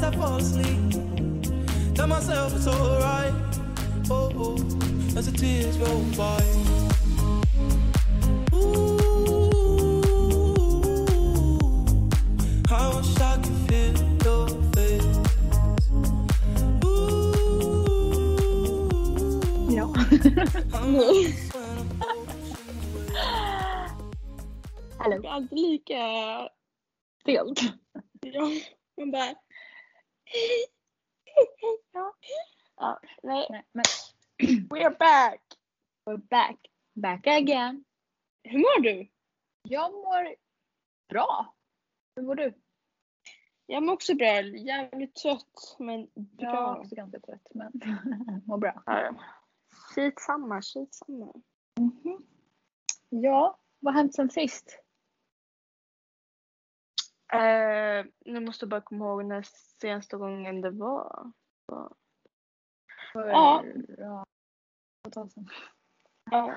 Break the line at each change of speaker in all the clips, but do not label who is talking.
I fall asleep. Tell myself it's alright. Oh, oh, as the tears roll by. Ooh, I wish I could feel your face. Ooh,
Ja.
I'm
Nej.
lost when I'm ocean away.
Hallå.
Det är alltid lika stelt. Ja, man bara... Ja, Mm. nej,
Nej, men
we're back!
we're back. Back again.
Hur mår du?
Jag mår bra. Hur mår du?
Jag mår också bra. Jävligt trött, men
Jag är
bra.
också ganska trött men mår bra.
Ja. Skitsamma, skitsamma.
Mhm. Ja, vad har hänt sen sist?
Eh, nu måste jag bara komma ihåg när senaste gången det var.
För,
Ja.
ja, ett tag sedan.
Ja.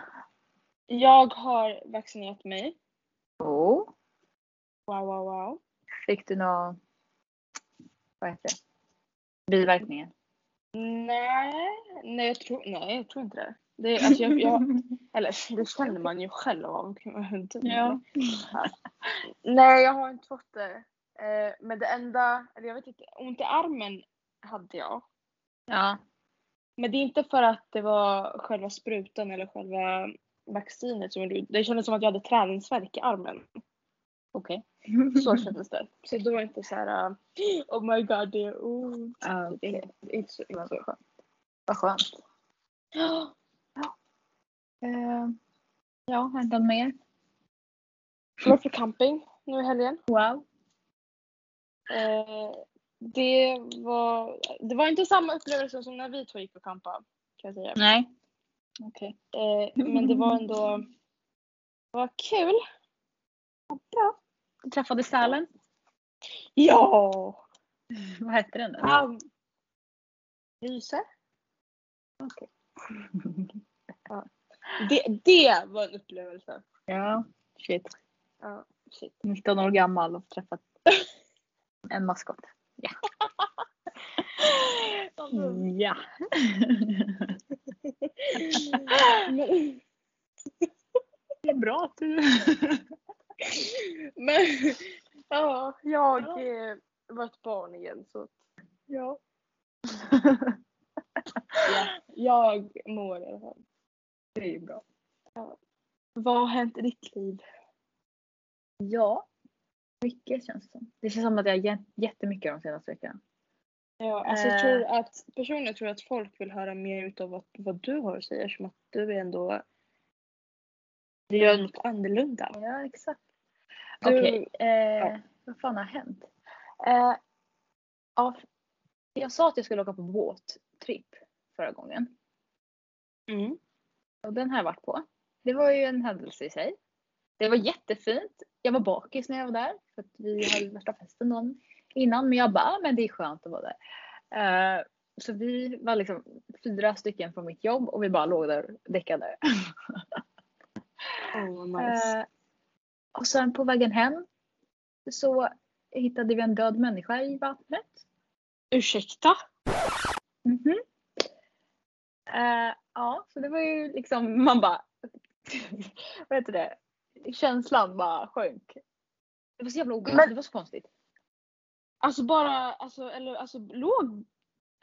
Jag har vaccinerat mig.
Jo.
Wow, wow, wow.
Fick du några, vad heter det, biverkningar?
Nej, nej jag tror, nej, jag tror inte det. det är- alltså jag, jag, eller det känner man ju själv av. kan man typ.
ja.
Nej, jag har inte fått det. Eh, men det enda, eller jag vet inte, ont i armen hade jag.
Ja.
Men det är inte för att det var själva sprutan eller själva vaccinet som gjorde ont. Det kändes som att jag hade träningsvärk i armen.
Okej.
Så kändes det. Så det var inte så här, eh, oh my god det är ont.
Ja,
Det
Okej.
är inte så, inte så.
Vad skönt. Eh, ja, har det hänt något mer?
Jag var på camping nu i helgen.
Wow.
Eh, det, var, det var inte samma upplevelse som när vi två gick och campade. Kan jag säga.
Nej. Okej.
Eh, men det var ändå det var kul.
Du träffade sälen.
Ja!
Vad hette den då?
Um, Lyse. Det, det var en upplevelse.
ja. Shit.
Ja, shit.
19 år gammal och träffat en maskot.
Mm.
Ja.
Men,
Det är bra att du...
men ja, jag eh, var ett barn igen så att
ja.
ja, jag mår i alla fall.
Det är ju bra.
Vad har hänt i ditt liv?
Ja. Mycket känns det som. Det känns som att jag har gett jättemycket de senaste veckorna.
Ja, alltså jag
Eh.
tror att personligen tror jag att folk vill höra mer utav vad, vad du har att säga som att du är ändå du gör något annorlunda.
Ja, exakt.
Du-
Okej, eh,
ja.
vad fan har hänt? Eh, ja, f- jag sa att jag skulle åka på båttripp förra gången
Mm.
och den har jag varit på. Det var ju en händelse i sig. Det var jättefint. Jag var bakis när jag var där för att vi hade värsta festen dagen innan men jag bara, ah, men det är skönt att vara där. Eh, så vi var liksom fyra stycken från mitt jobb och vi bara låg där däckade.
Oh, nice.
Eh, och sen på vägen hem så hittade vi en död människa i vattnet.
Eh, Ursäkta?
Mhm. Eh, ja, så det var ju liksom, man bara, vad heter det, känslan bara sjönk. Det var så jävla obehagligt,
Men-
det var så konstigt.
Alltså bara, alltså, eller alltså låg...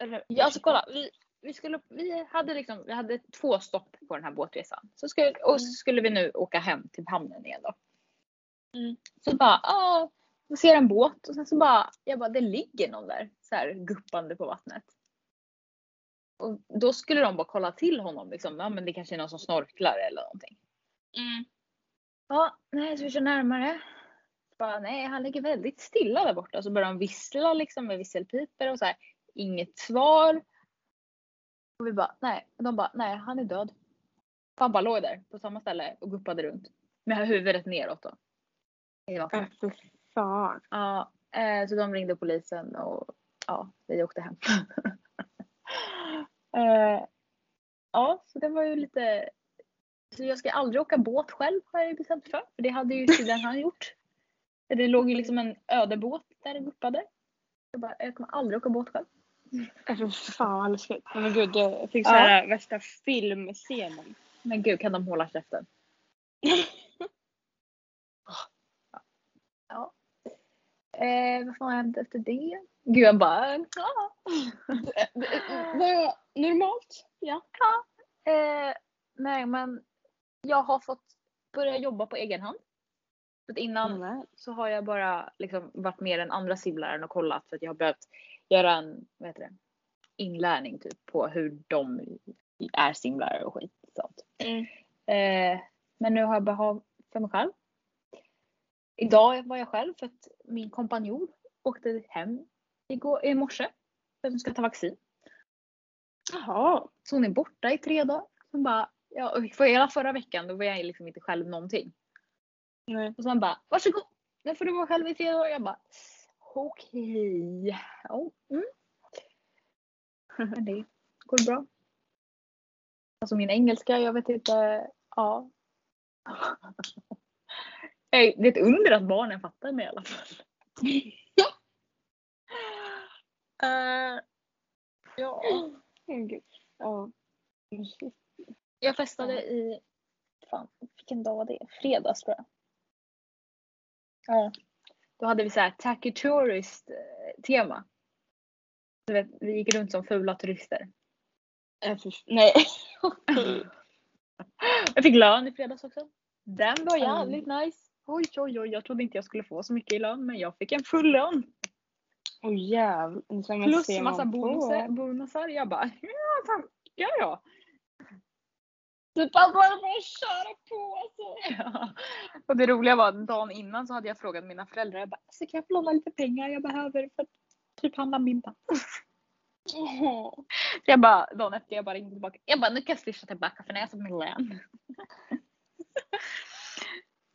Eller,
Ja, alltså kolla, vi, vi, skulle, vi, hade liksom, vi hade två stopp på den här båtresan. Så skulle, och så skulle vi nu åka hem till hamnen igen då.
Mm.
Så bara, ja, vi ser en båt och sen så bara, jag bara, det ligger någon där så här guppande på vattnet. Och då skulle de bara kolla till honom liksom, ja men det kanske är någon som snorklar eller någonting.
Mm.
Ja, nej så vi kör närmare. Bara, nej, han ligger väldigt stilla där borta. Så börjar han vissla liksom med visselpipor och så här. Inget svar. Och vi bara, nej. Och de bara, nej han är död. För Han bara låg där på samma ställe och guppade runt. Med huvudet neråt då. I vattnet.
Äh, för fan.
Ja, eh, så de ringde polisen och ja, vi åkte hem. eh, ja, så det var ju lite... Så jag ska aldrig åka båt själv har jag ju bestämt mig för. För det hade ju tydligen han gjort. Det låg ju liksom en ödebåt där det guppade. Jag, bara, jag kommer aldrig åka båt själv.
Äh,
Alltså fan vad läskigt.
Nej men gud, jag fick
Ja.
såhär värsta filmscenen.
Men gud, kan de hålla käften? ja. Eh, vad fan har hänt efter det? Gud, jag bara... Ja.
Vad normalt? Ja.
Eh, nej, men jag har fått börja jobba på egen hand. För att innan
Nej.
så har jag bara liksom varit med den andra simläraren och kollat för att jag har behövt göra en vad heter det, inlärning typ på hur de är simlärare och skit. och Sånt.
Mm.
Eh, men nu har jag behov för mig själv. Idag var jag själv för att min kompanjon åkte hem igår, i morse för att hon ska ta vaccin.
Jaha.
Så hon är borta i tre dagar. Hon bara, ja, och för hela förra veckan då var jag liksom inte själv någonting.
Nej.
Och sen bara, varsågod! Nu får du vara själv i tre dagar. Jag bara, okej. Ja, mm. Men det går bra. Alltså min engelska, jag vet inte. Ja. Nej, Det är ett under att barnen fattar mig i alla fall. Eh, ja.
Men gud. Ja. Men shit.
Jag festade i, fan vilken dag var det? Fredags tror jag. Ja. Då hade vi så här tacky tourist eh, tema. Du vet, vi gick runt som fula turister.
Äh, för, nej.
Jag fick lön i fredags också. Den var
Mm.
jävligt nice. Oj, oj, oj, jag trodde inte jag skulle få så mycket i lön men jag fick en full lön.
Åh jävlar.
Plus massa bonusar. bonusar. Jag bara, ja tack, ja ja.
Du bara bara köra på alltså.
Ja. Och det roliga var att dagen innan så hade jag frågat mina föräldrar. Jag bara, så kan jag få låna lite pengar jag behöver för att typ handla middag.
Åh.
Så jag bara, dagen efter jag bara ringde tillbaka. Jag bara, nu kan jag swisha tillbaka för när jag är som min lön.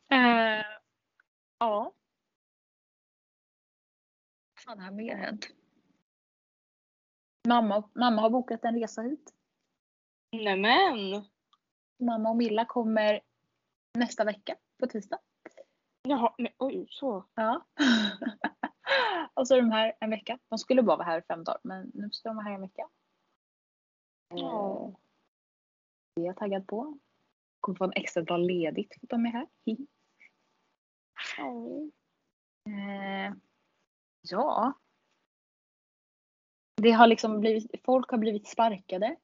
Eh, ja. Vad fan har mer hänt? Mamma, mamma har bokat en resa hit.
Nämen.
Mamma och Milla kommer nästa vecka på tisdag.
Jaha, men oj så.
Ja. och så är de här en vecka. De skulle bara vara här i fem dagar men nu ska de vara här en vecka.
Ja.
Eh, Det är jag taggad på. Kommer få en extra dag ledigt för att de är här. Hi.
Mm.
Eh, ja. Det har liksom blivit, folk har blivit sparkade.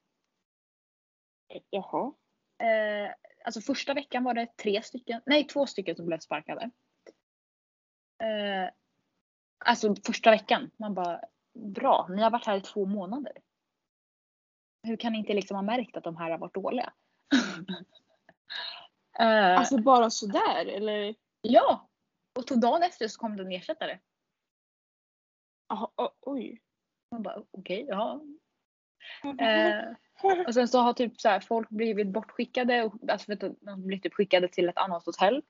Jaha.
Eh, alltså första veckan var det tre stycken, nej två stycken som blev sparkade. Eh, alltså första veckan. Man bara, bra, ni har varit här i två månader. Hur kan ni inte liksom ha märkt att de här har varit dåliga? eh,
Alltså bara sådär eller?
ja! Och tog dagen efter så kom det en ersättare.
Jaha, o- oj.
Man bara, okej, ja.
Jaha.
Eh, och sen så har typ så här, folk blivit bortskickade. Och, alltså vet du, de blir typ skickade till ett annat hotell.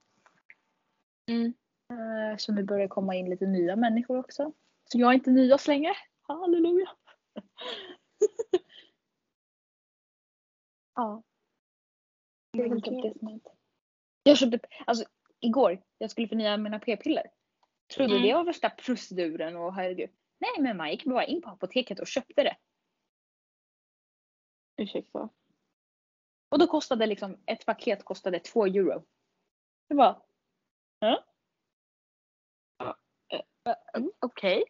Mm.
Eh, så nu börjar det komma in lite nya människor också. Så jag är inte nyast längre. Halleluja. ja. Det är helt
Men
enkelt det som har hänt. Jag köpte, alltså igår, jag skulle förnya mina p-piller. Trodde
Mm.
det var värsta proceduren och herregud. Nej men man gick bara in på apoteket och köpte det.
Ursäkta.
Och då kostade liksom, ett paket kostade 2 euro. Det var. Ja. Okej.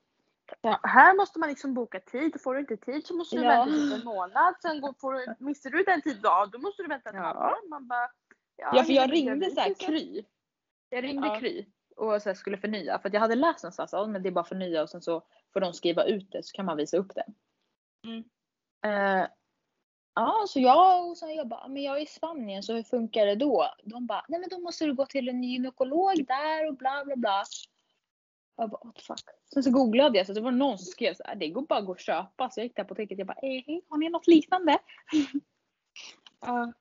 Ja, här måste man liksom boka tid. Får du inte tid så måste du
Ja.
vänta typ en månad. Sen går, får du, missar du den tid, ja då måste du vänta en
Ja.
månad. Man bara, ja,
Ja för jag
hinner inte
ringde
bli
så här
så-
Kry. Jag ringde
Ja.
Kry och så här skulle förnya. För att jag hade läst någonstans att men det är bara förnya och sen så får de skriva ut det så kan man visa upp det.
Mm.
Eh, ja så jag och så jag bara, men jag är i Spanien så hur funkar det då? De bara, nej men då måste du gå till en gynekolog där och bla bla bla. Jag bara, what the fuck. Sen så googlade jag så det var någon som skrev så här, det går bara att gå och köpa. Så jag gick till apoteket jag bara, eh, hej, har ni något liknande?
Ja.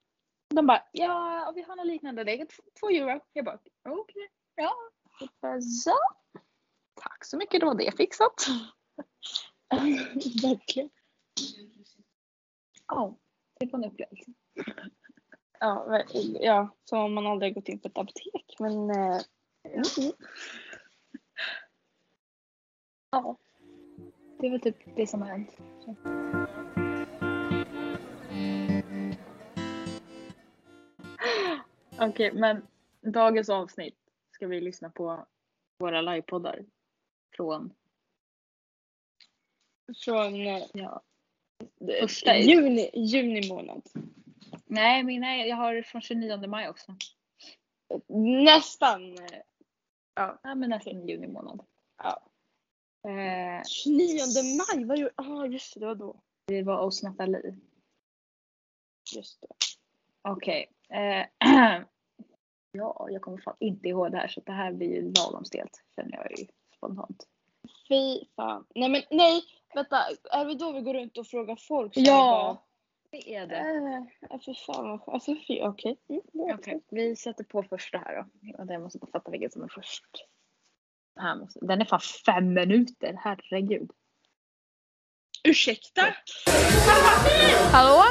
De bara, ja vi har något liknande, det är t- två euro. Jag bara, okej, ja. Så. Tack så mycket, då var det fixat.
Verkligen.
Ja, det var en upplevelse.
Ja, ver- ja, som om man aldrig gått in på ett apotek. Men eh,
Ja. Det är väl typ det som har hänt. Så. Okej, men dagens avsnitt ska vi lyssna på våra livepoddar från
Från eh,
ja,
första juni, juni månad.
Nej, mina, jag har från 29 maj också.
Nästan eh,
Ja, men nästan juni månad.
Ja.
Eh,
9 maj. Vad gjorde... ah, just det, det var då.
vi var hos Nathalie.
Just det.
Okej. Eh, ja, jag kommer fan inte ihåg det här så det här blir ju lagom stelt känner jag ju spontant.
Fy fan. Nej men nej, vänta. Är det då vi går runt och frågar folk? som
Ja, det är
Bara, eh, ja, fy fan. Alltså fy, okej. Mm,
Okej,
ja.
vi sätter på första här då. Och jag måste bara fatta vilken som är först. Den Här måste, den är fan fem minuter, herregud.
Ursäkta?
Hallå!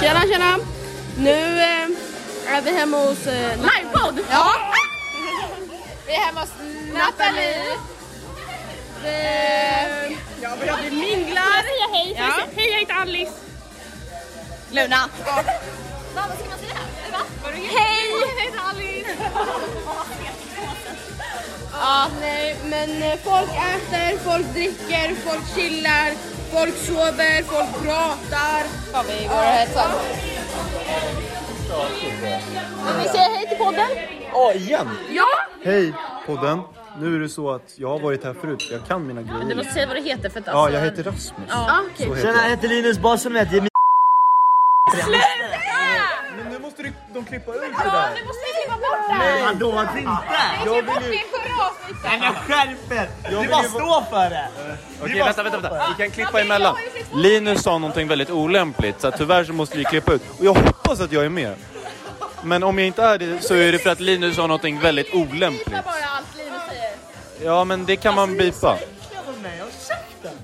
Tjena tjena! Nu eh, är vi hemma hos... Eh, Livepodd! Ja! vi är hemma hos Nathalie. Vi... Eh, Ja, vi, vi minglar. Säga hej, ja. hej jag heter Alice. Luna. Vad ska man säga? Hej! Jag heter Alice. Ja, nej, men eh, folk äter, folk dricker, folk chillar, folk sover, folk pratar. Ja, vi går och hälsar. Vill ni säga hej till podden?
Ja, igen!
Ja!
Hej podden! Nu är det så att jag har varit här förut, jag kan mina grejer.
Du måste säga vad du heter för att alltså-
Ja, jag heter Rasmus.
ja okej.
Så heter
Tjena, jag
jag.
heter Linus Basen heter jag.
Men nu måste du, de klippa ut det där.
måste vi klippa bort det
Nej, vadå att inte?
Jag vill ju...
Nej men skärp er!
Jag
Du
vill
bara
ju-
stå för det!
Okej, vänta, vänta, vänta. Vi kan klippa emellan. Linus sa någonting väldigt olämpligt, så att tyvärr så måste vi klippa ut. Och jag hoppas att jag är med. Men om jag inte är det så är det för att Linus sa någonting väldigt olämpligt.
bara allt Linus säger.
Ja, men det kan
Alltså,
man bipa.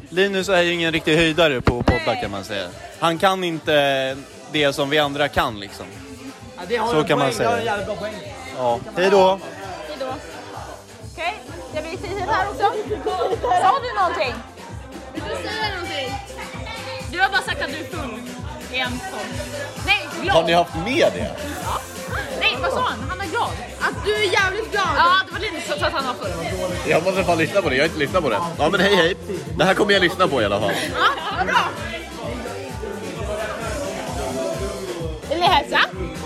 Linus är ju ingen riktig höjdare på poddar kan man säga. Han kan inte det som vi andra kan liksom.
Ja, det har
Så
jag en
kan man
poäng,
säga.
Det har en jävligt bra poäng.
Ja. Hej då!
Okej, ska vi säga här också? Sa du någonting?
Du säger någonting.
Du har bara sagt att du är full. I en stund. Nej,
Har
glad.
ni haft med det?
Nej, vad sa han? Han är glad.
Att du är jävligt glad.
Ja, det var Linus som sa att han var full.
Jag måste fan lyssna på det, jag har inte lyssnat på det. Ja men hej hej. Det här kommer jag lyssna på i alla fall.
Vill ni hälsa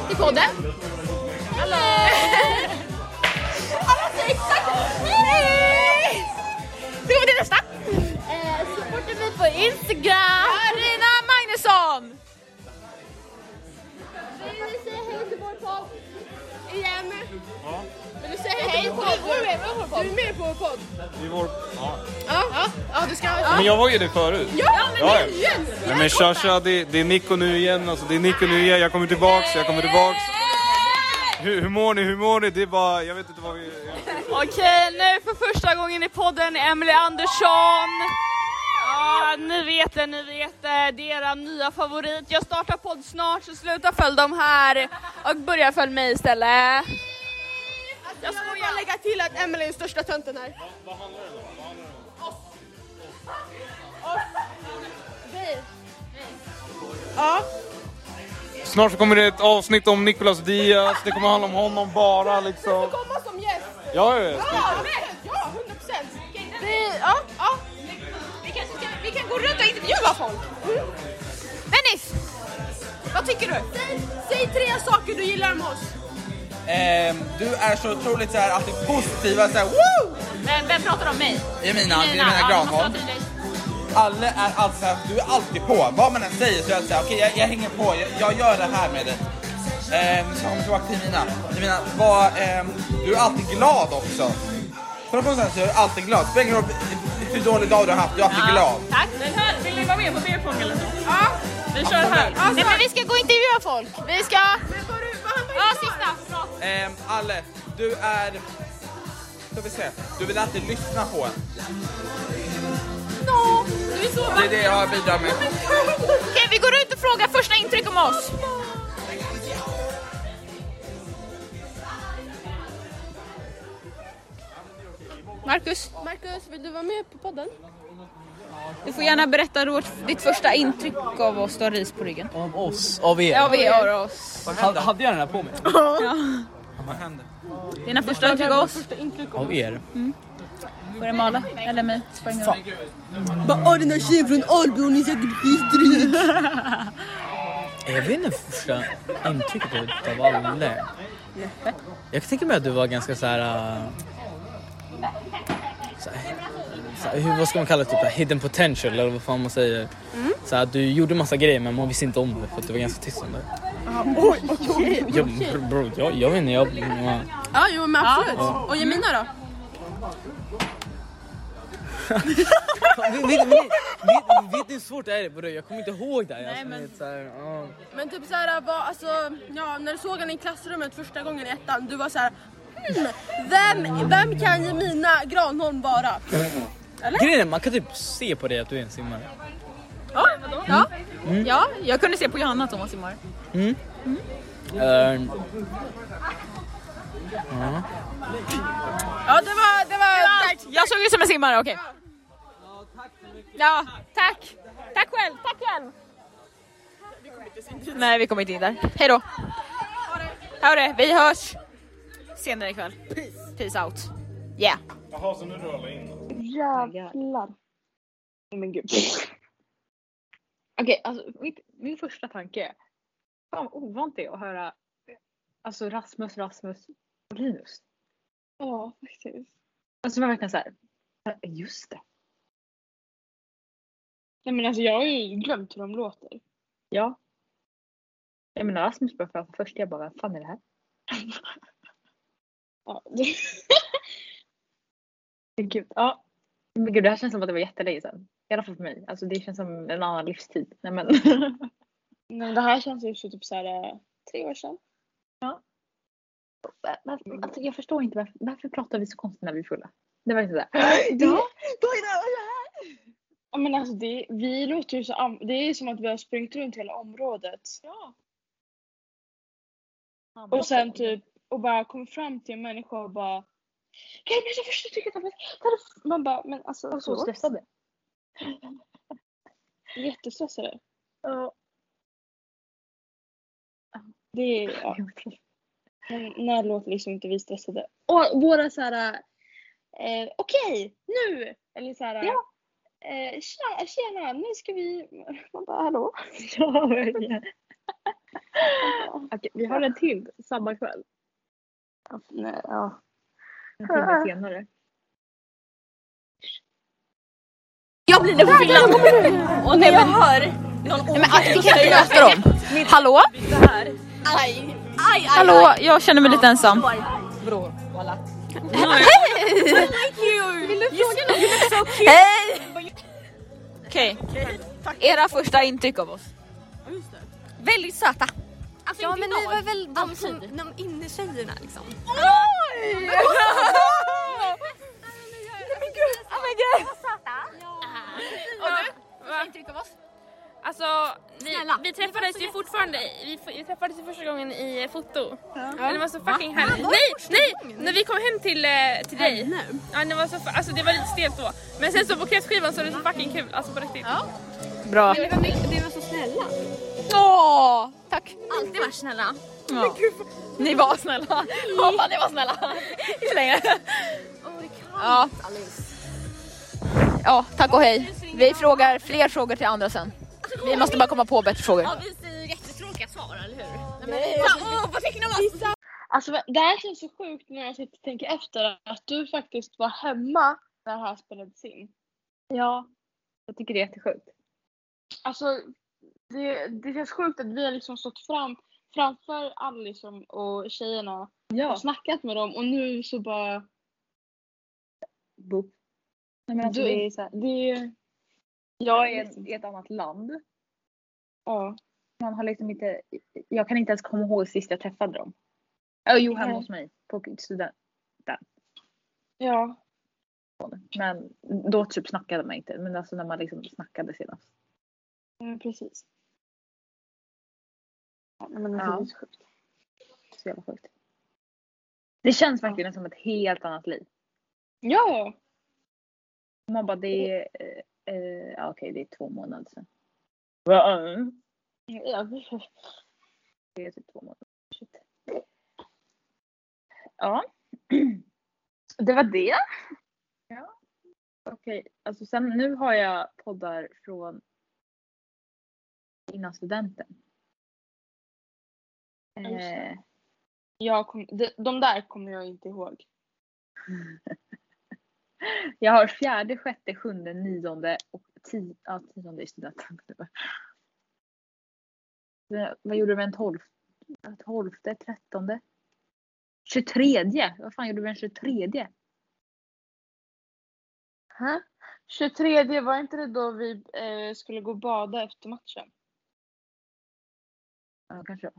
till podden? Hallå! Alla säger exakt hej! Då går vi till nästa. Supporta Eh, mig på Instagram. Karina Magnusson! Vill ni säga hej till vår podd? Igen? Vill du säga hej till vår podd? Du är med på vår podd. Du är med på vår podd.
Ja. ja, du ska...
Men jag var ju det förut.
Ja, men
Ja, ja.
det är ju
Nej men tja tja, det, det är Nico nu igen. Alltså det är Nico nu igen. Jag kommer tillbaks, jag kommer tillbaks. Hur, hur mår ni, hur mår ni? Det är bara, jag vet inte vad vi...
Okej, nu för första gången i podden är Emily Andersson. Ja, ni vet det, ni vet det. Det är era nya favorit. Jag startar podd snart så sluta följ dem här och börja följ mig istället.
Jag ska bara lägga till att Emelie är den största tönten här.
Snart så kommer det ett avsnitt om Nicolas Diaz. Det kommer handla om honom bara liksom.
Komma som gäst.
Ja, ja, ja.
Ja, men, ja, 100 procent. Ja, ja. Vi, kanske ska, vi kan gå runt och intervjua folk. Dennis, vad tycker du? Säg, säg tre saker du gillar med oss.
Ehm, du är så otroligt så här, alltid positiva, så här, woo!
Vem, vem pratar om mig?
Emina, Emina Granholm. Alla är alltid så här, du är alltid på. Vad man än säger så är det så här, okej jag, jag hänger på, jag, jag gör det här med dig. Ehm, så kommer jag tillbaka till Emina. Emina, vad, ehm, du är alltid glad också. Från någonstans så är du alltid glad. Spelar ingen roll hur dålig dag du har haft, du är alltid glad.
Tack. Den här, vill ni vara med på telefon eller? Ja. Vi kör här. Nej, men vi ska gå och intervjua folk. Vi ska... Ja, sista.
Ehm, Alle, du är... Ska vi se, du vill alltid lyssna på en. Det är det jag bidrar med.
Okej, vi går ut och frågar första intryck om oss.
Marcus? Marcus, vill du vara med på podden? Du får gärna berätta vårt, ditt första intryck av oss du har ris på ryggen.
Av oss, av er.
Ja, vi har oss.
Ha- Hade jag den här på mig?
Ja.
Vad händer?
Dina första intryck av oss?
Av er?
Var det Mala? Eller mig? Spelar ingen roll.
Bara åh den där tjejen från Alby hon är säkert skitrik. Jag vet inte första intrycket av alla. Jag kan tänka mig att du var ganska så här. äh, så här- så här, hur, vad ska man kalla det? Typ, hidden potential eller vad fan man säger. Så här, du gjorde massa grejer men man visste inte om det för att du var ganska tyst om det.
Oj, okej.
Jag, bro, bro, jag, jag vet inte, jag... jag
Ja, jo men absolut.
Ja.
Och Jemina då?
vet, vet, vet, vet ni hur svårt det är? Bro, jag kommer inte ihåg det här.
Nej,
Alltså,
men-
vet, så här, ja.
Men typ såhär, var, alltså, ja, när du såg henne i klassrummet första gången i ettan, du var såhär hmm, vem, vem kan Jemina Granholm vara? Eller?
Grejen är, man kan typ se på dig att du är en simmare.
Ja, ja. ja jag kunde se på Johanna att hon var simmare.
Mm. Ehm, ja.
Ja, det var... Det var Jag såg ut som en simmare, okej. Ja, tack. Tack själv, tack själv. Nej, vi kommer inte in där. Hej då. Ha det, vi hörs senare ikväll. Peace. Peace out. Yeah.
Jaha, så nu drar alla in.
Jävlar.
Nej, Men gud. Okej, alltså mitt, min första tanke är. Fan vad ovant det är att höra alltså Rasmus, Rasmus och Linus.
Ja, faktiskt.
Alltså det var verkligen så här. Just det.
Nej men alltså jag har ju glömt hur de låter.
Ja. Jag menar Rasmus började prata först. Jag bara, vem fan är det här?
Ja.
Men Gud, ja. Men gud, det här känns som att det var jättelänge sedan. I alla fall för mig. Alltså det känns som en annan livstid. Nej men.
Nej, men det här känns ju så typ så här eh, tre år sedan.
Alltså, jag förstår inte varför, varför pratar vi så konstigt när vi är fulla? Det var inte sådär. Ja.
Ja men alltså det, vi låter ju så, am- det är som att vi har sprungit runt hela området.
Ja.
Och sen typ, och bara kommer fram till en människa och bara Kan jag ta första trycket av mig? Ta det- Man bara, men alltså.
Och så
förlåt.
stressade.
Jättestressade.
Ja.
Det är, ja. Men när låter liksom inte vi stressade? Och våra såhär, eh, okej, nu! Eller såhär,
Ja.
eh, tja, tjena, nu ska vi... Man bara, hallå?
Ja, verkligen. Okej, vi har en till samma kväll.
Nej, ja.
En timme senare.
Jag blir det på fyllan. Och när jag hör Nej, men alltså, kan inte möta dem. Hallå?
Aj, aj,
Hallå, jag känner mig lite ensam.
Bror, voilà.
Hej! Vill du fråga något? Hej! Okej, era första intryck av oss. Väldigt söta. Alltså,
ja men ni var väl de, som, de innertjejerna liksom?
Oj!
men gud!
Oh my god!
Och du?
Första intryck av oss?
Alltså, vi, vi träffades ju fortfarande, vi, f- vi träffades ju första gången i eh, foto. Men det var så
Va?
fucking
Va?
härligt.
Var det första
Nej, nej! När vi kom hem till, eh, till dig. Ja, det var så, fa- alltså det var lite stelt då. Men sen så på kräftskivan så var det så fucking kul, alltså på riktigt.
Bra.
Men det var mycket- det var så
Snälla.
Åh, tack.
Alltid varit snälla.
Ja. Ni var snälla. Ja, fan, ni var snälla. Inte längre. Ja. Ja, tack och hej. Vi frågar fler frågor till andra sen.
Alltså,
Vi måste bara komma på bättre frågor.
Ja vi säger jättetråkiga svar eller hur?
Nej,
Så,
alltså,
Åh vad fick ni av oss?
Alltså det här känns så sjukt när jag sitter och tänker efter att du faktiskt var hemma när det här spelades in.
Ja. Jag tycker det är jättesjukt.
Alltså det, det känns sjukt att vi har liksom stått fram, framför Alice och- och tjejerna och snackat med dem och nu så bara...
Boop. Nej, men alltså,
Du-
det är så här,
det...
Jag är i ett, i ett annat land.
Ja.
Man har liksom inte, jag kan inte ens komma ihåg sist jag träffade dem. Oh, jo, hemma
Nej.
hos mig på studenten.
Ja.
Men då typ snackade man inte. Men alltså när man liksom snackade senast.
Ja, precis. Ja, men det
Ja.
är så sjukt.
Så jävla sjukt. Det känns verkligen som ett helt annat liv. Ja! Man bara, det är... Eh, eh, ja, okej, det är två månader sedan. Va?
Ja.
Det är typ två månader. Shit. Ja. Det var det. Ja. Okej, alltså sen nu har jag poddar från innan studenten.
Just det.
Eh,
Jag kom, de, de där kommer jag inte ihåg.
jag har fjärde, sjätte, sjunde, nionde och tionde. Ja, tionde är studenten. Eh, Vad gjorde vi den tolfte? Tolfte, trettonde? 23? Vad fan gjorde vi den 23?
Huh? 23 var inte det då vi eh, skulle gå och bada efter matchen?
Ja, kanske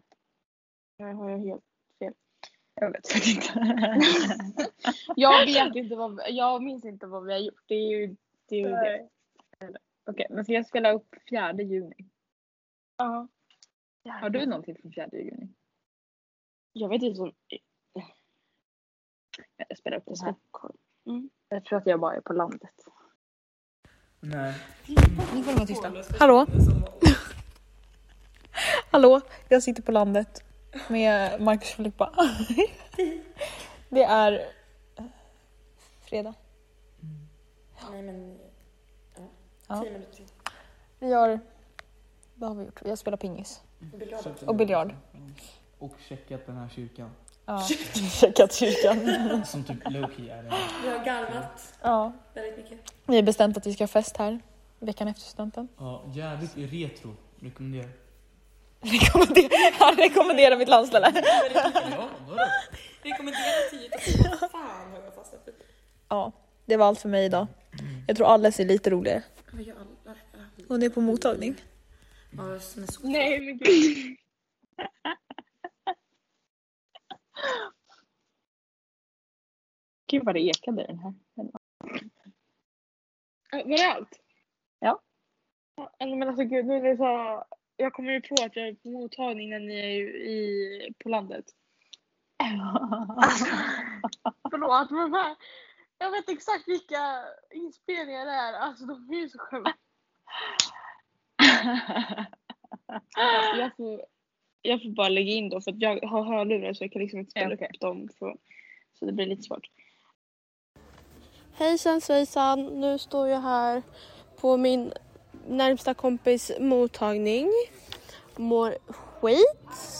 Nu har jag helt fel.
Jag vet faktiskt inte.
jag vet inte vad, jag minns inte vad vi har gjort. Det är ju det. Är ju det.
Okej, men så jag spelar upp 4 juni.
Ja.
Har du någonting från 4 juni?
Jag vet inte. om-
Jag spelar upp det här. Jag tror att jag bara är på landet.
Nej.
Nu får de vara tysta. Hallå? Hallå? Jag sitter på landet med Marcus och Filippa. Det är eh, fredag.
Mm. Nej men...
Ja.
Ja. Tio minuter till.
Vi har... Vad har vi gjort? Vi har spelat pingis.
Biljard.
Och biljard.
Och checkat den här kyrkan.
Ja. Checkat kyrkan.
Som typ Loki är det.
Vi har garvat
Ja.
väldigt mycket.
Vi har bestämt att vi ska ha fest här veckan efter studenten.
Ja, jävligt retro. Rekommenderar.
Han rekommenderar mitt landställe.
Rekommendera 10 av 10. Vad fan har jag fastnat i?
Ja, det var allt för mig idag. Jag tror Alice är lite roligare.
Vad gör alla?
Hon är på mottagning.
Ja, som är så...
Nej men gud.
Gud vad det ekade i den här.
Äh, Var det allt?
Ja.
Ja, Men alltså gud, nu när du sa... Jag kommer ju på att jag är på mottagning när ni är ju i, på landet. Förlåt men vad- jag vet exakt vilka inspelningar det är. Alltså de är ju så sköna. Alltså, jag, får, jag får bara lägga in då för att jag har hörlurar så jag kan liksom inte spela upp dem. För, så det blir lite svårt.
Hejsan svejsan, nu står jag här på min närmsta kompis mottagning. Mår skit.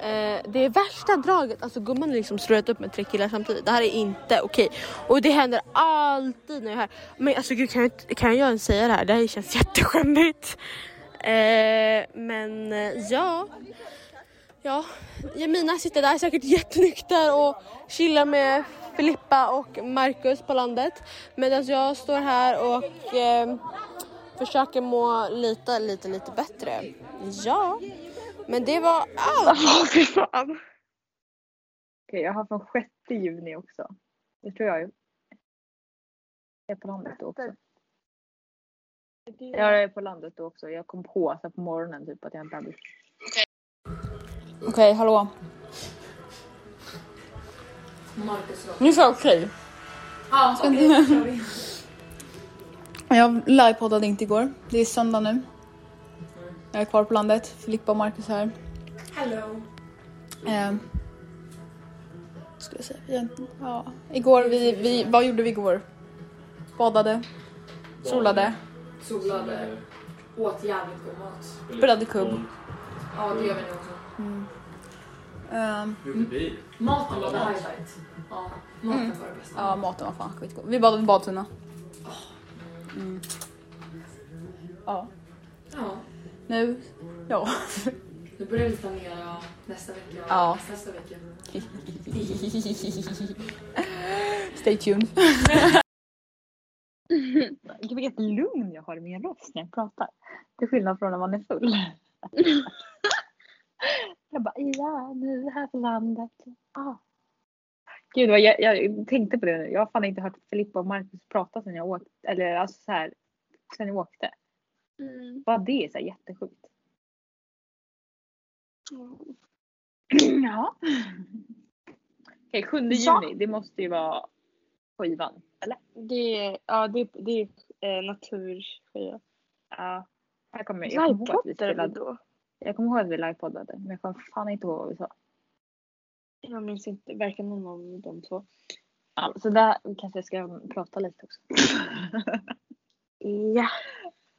Eh, det är värsta draget, alltså gumman har liksom ströat upp med tre killar samtidigt. Det här är inte okej. Och det händer alltid när jag är här. Men alltså gud kan jag, inte- kan jag ens säga det här? Det här känns jätteskämmigt. Eh, men eh, ja. Ja, Jemina sitter där säkert jättenykter och chillar med Filippa och Marcus på landet. Medan jag står här och eh, försöker må lite, lite, lite bättre. Ja, men det var allt.
Okej, jag har från 6 juni också. Det tror jag ju. Jag är på landet då också. Ja, jag är på landet då också. Jag kom på så här på morgonen typ att jag inte hade...
Okej, hallå.
Marcus
Nu sa jag okej.
Ja,
okej, då kör vi. Jag livepoddade inte igår. Det är söndag nu. Jag är kvar på landet. Filippa och Marcus här.
Hello.
Eh, skulle jag säga? egentligen? Ja. Igår, vi, vi, vad gjorde vi igår? Badade. Solade.
Solade. Åt jävligt god mat.
Spelade kubb.
Ja, det gör vi nu också.
Mm. Ehm,
Maten var nice. Ja, maten
Mm.
var det bästa.
Ja, maten var fan skitgod. Vi badade i Badtunna. Mm. Ja.
Ja.
Nu, ja.
Nu börjar vi planera nästa vecka.
Ja.
Nästa vecka.
Stay tuned.
Gud vilket lugn jag har i min röst när jag pratar. Till skillnad från när man är full. jag bara ja, nu är vi här på landet. Ah. Gud vad jag, jag tänkte på det nu. Jag har fan inte hört Filippa och Marcus prata sen jag åkte. Eller alltså så här, sen jag åkte.
Mm.
Bara det är så här jättesjukt. Ja. Okej, 7
Ja.
juni. Det måste ju vara skivan, eller?
Det är, ja, det, det är eh, naturskiva.
Ja. Jag kommer, jag kommer ihåg att vi
Livepoddade vi
spelade.
då?
Jag kommer ihåg att vi livepoddade, men jag kommer fan inte ihåg vad vi sa.
Jag minns inte, varken någon av de två.
Ja, så där kanske jag ska prata lite också. ja.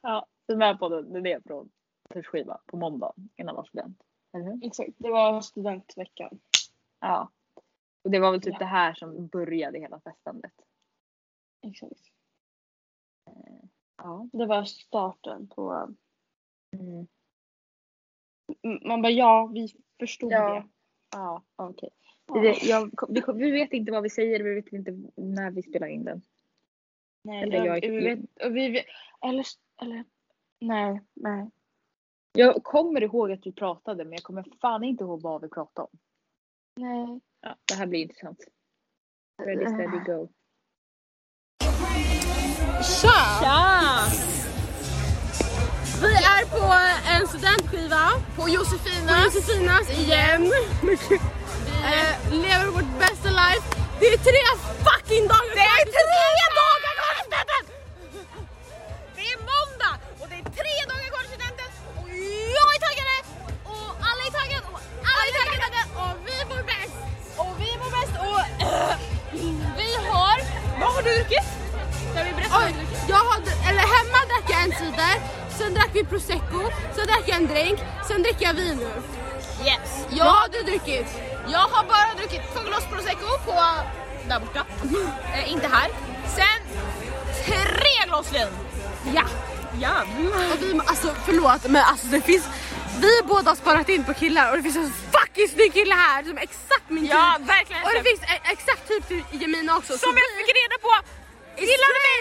Ja, så den här podden, det är från kursskiva på måndag innan vår student. Eller hur?
Exakt, det var studentveckan.
Ja. Och det var väl typ
Ja.
det här som började hela festandet.
Exakt.
Ja.
Det var starten på...
Mm.
M- Man bara ja, vi förstod
Ja.
det.
Ja, okej.
Ja.
Det- jag- vi, vi vet inte vad vi säger, vi vet inte när vi spelar in den.
Nej,
Eller
jag,
jag-
vi vet, och vi, vet- eller, eller, nej, nej.
Jag kommer ihåg att vi pratade men jag kommer fan inte ihåg vad vi pratade om.
nej.
Ja, det här blir intressant. Ready, steady, go.
Tja!
Vi är på en studentskiva på Josefinas, på Josefinas igen.
Vi Eh, lever vårt bästa life. Det är tre fucking dagar Det är tre dagar kvar till studenten! Det är måndag och det är tre dagar kvar till studenten och jag är taggade och alla är taggade och alla är taggade och vi mår bäst. Och vi mår bäst och eh, vi har... Vad har du druckit? Ska vi berätta vad du druckit?
Jag har, eller hemma drack jag en cider, sen drack vi prosecco, sen drack jag en drink, sen dricker jag vin nu.
Yes.
Jag har du druckit.
Jag har bara druckit två glas prosecco på där borta. eh, inte här. Sen tre glas vin.
Ja.
Ja.
Och vi, alltså förlåt men alltså det finns, vi båda har sparat in på killar och det finns en fucking snygg kille här som är exakt min typ.
Ja, verkligen.
Och det finns e- exakt typ till Jemina också.
Som jag fick reda på. Gillar du mig?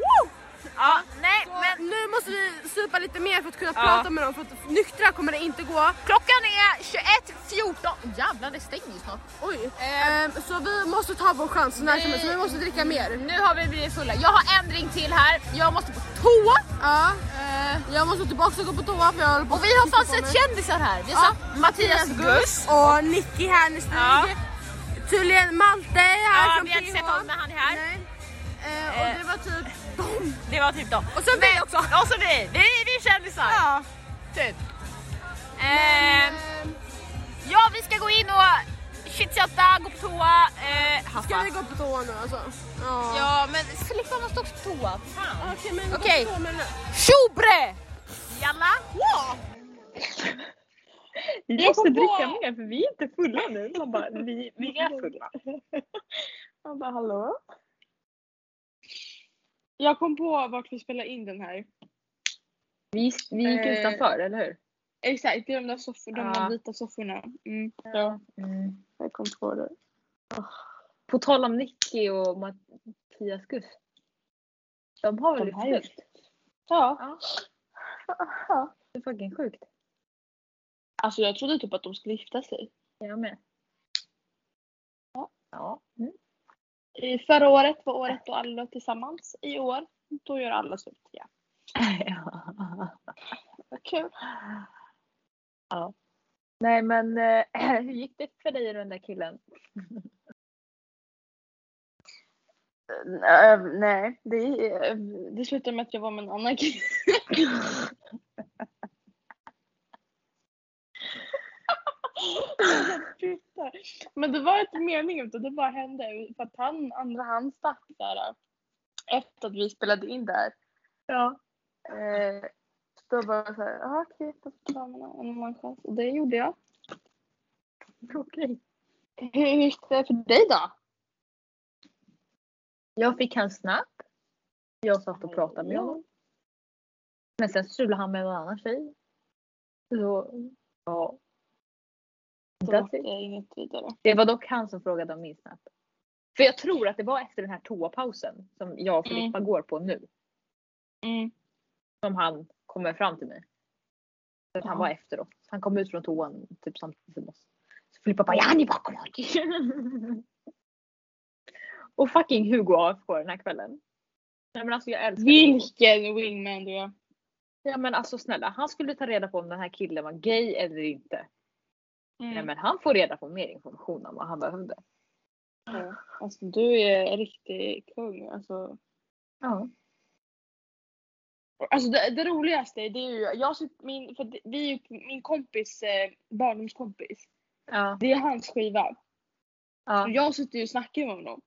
Woo! Ja, nej men.
Nu måste vi supa lite mer för att kunna
Ja.
prata med dem för att nyktra kommer det inte gå.
Klockan är 21.14. Jävlar det stänger ju snart. Eh.
Oj. Ehm, så vi måste ta vår chans när som helst. Vi måste dricka mer.
Nu har vi blivit fulla. Jag har en drink till här. Jag måste på toa.
Ja. Eh, Jag måste tillbaka och gå på toa för jag håller på
Och vi har fan sett kändisar här. Vi har sett Mattias Guss.
Och Nicky Hernestig.
Ja.
Tydligen Malte här
Ja,
från
vi har inte sett honom men han är här.
Nej. Eh, och det var typ dem.
Det var typ dem.
Och så vi också.
Och så vi. Vi, vi är kändisar.
Ja.
Typ. Ehm, ja, vi ska gå in och chitchatta, gå på toa, eh, haffa.
Ska vi gå på toa nu alltså? Ja.
Ja, men Filippa måste också på toa. Fan.
Okej, men gå på
Okej.
toa med den här.
Tjobre! Jalla!
Vi måste dricka mer för vi är inte fulla nu. Man bara, vi, vi är fulla.
Man bara hallå? Jag kom på vart vi spelade in den här.
Vi, vi gick
Eh,
utanför, eller hur?
Exakt, det är de där, soffor, de
Ja.
där vita sofforna. Mm. Ja.
Mm.
Jag kom på det.
På tal om Nicky och Mattias Guss. De har väl
De har
det
ju-
sjukt?
Ja.
ja. Det är fucking sjukt.
Alltså jag trodde typ att de skulle gifta sig.
Jag med. Ja. Mm.
I förra året var året då alla låg tillsammans. I år, då gör alla slut. Ja. Vad kul.
ja. Nej men eh, hur gick det för dig och den där killen?
Eh, nej, det, eh, det slutade med att jag var med en annan kille. Men det var inte meningen utan det bara hände för att han, andra han stack där. äh, Efter att vi spelade in där.
Ja.
Eh, så bara så här, "Jaha, okej, då tar man en annan chans. Och det gjorde jag.
Okej.
Hur gick det för dig då?
Jag fick hans snap. Jag satt och pratade med
Ja.
honom. Men sen strulade han med någon annan tjej. Så, ja.
Så
That's
det
it.
är inget vidare.
Det var dock han som frågade om min snap. För jag tror att det var efter den här toapausen som jag och Filippa går på nu.
Mm.
Som han kommer fram till mig. För att han
Ja.
var efter oss. Han kom ut från toan typ samtidigt som oss. Så Filippa bara ja ni bara kom ihåg." Och fucking Hugo AFK den här kvällen. Nej men alltså jag älskar Hugo.
Vilken wingman du är.
Ja men alltså snälla han skulle ta reda på om den här killen var Mm.
Mm.
gay eller inte. Nej men han får reda på mer information än vad han behövde.
Ja. Alltså du är en riktig kung alltså.
Ja.
Alltså det, det roligaste det är ju, jag sitter, min, för det- vi är ju- min kompis, eh, barndomskompis.
Ja.
Det är hans skiva. Och jag sitter ju och snackar med honom.